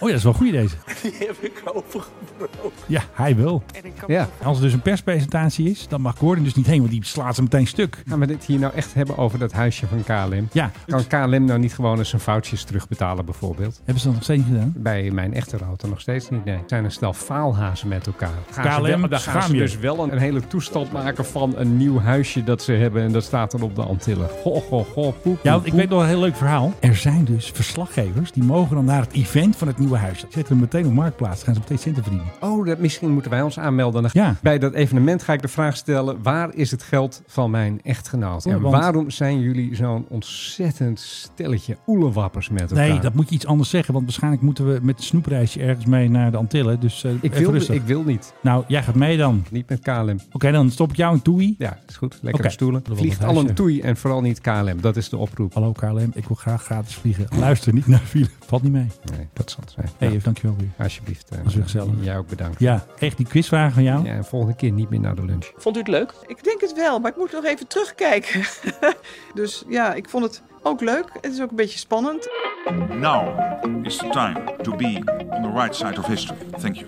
S7: ja, dat is wel goed deze.
S4: (laughs) Die heb ik overgebroken.
S7: Ja, hij wel.
S4: En ik kan
S8: ja.
S7: Als er dus een perspresentatie is, dan mag Gordon dus niet heen, want die slaat ze meteen stuk.
S8: Gaan we dit hier nou echt hebben over dat huisje van KLM?
S7: Ja,
S8: Kan KLM nou niet gewoon eens zijn foutjes terugbetalen bijvoorbeeld?
S7: hebben ze dat nog steeds niet gedaan?
S8: Bij mijn echte router nog steeds niet, nee. Het zijn een stel faalhazen met elkaar. Gaan
S7: KLM,
S8: ze wel, dan gaan
S7: schaam
S8: ze
S7: je.
S8: dus wel een, een hele toestand maken van een nieuw huisje dat ze hebben. En dat staat dan op de Antillen. Goh, goh, goh, poep, poep,
S7: Ja, want ik
S8: poep.
S7: weet nog een heel leuk verhaal. Er zijn dus verslaggevers die mogen dan naar het event van het nieuwe huis. Ze zetten hem meteen op marktplaats, gaan ze meteen centen verdienen.
S8: Oh, dat, misschien moeten wij ons aanmelden. Dan-
S7: Ja.
S8: Bij dat evenement ga ik de vraag stellen... waar is het geld van mijn echtgenoot?
S7: Ja,
S8: en
S7: want-
S8: waarom zijn jullie zo'n ontzettend stelletje oelewappers met elkaar?
S7: Nee, dat moet je iets anders zeggen, want waarschijnlijk moeten we met een snoepreisje ergens mee naar de Antillen. Dus eh
S8: ik,
S7: even
S8: wil,
S7: rustig.
S8: ik wil niet.
S7: Nou, jij gaat mee dan. Oké,
S8: Niet met KLM.
S7: dan stop ik jou een toei.
S8: Ja, is goed. Lekkere
S7: Oké.
S8: stoelen.
S7: Wil wel
S8: Vliegt
S7: dat
S8: al een
S7: huisje.
S8: toei en vooral niet KLM. Dat is de oproep.
S7: Hallo KLM, ik wil graag gratis vliegen. Luister niet naar Philip. Valt niet mee.
S8: Nee, dat zal het zijn.
S7: Hé,
S8: Nou,
S7: hey, dankjewel weer.
S8: Alsjeblieft. eh,
S7: is weer gezellig.
S8: Jij ook bedankt.
S7: Ja, echt die quizvragen van jou.
S8: Ja, en volgende keer niet meer naar de lunch.
S11: Vond u het leuk? Ik denk het wel, maar ik moet nog even terugkijken. (laughs) dus ja, ik vond het ook leuk. Het is ook een beetje spannend.
S6: Now is the time to be on the right side of history. Thank you.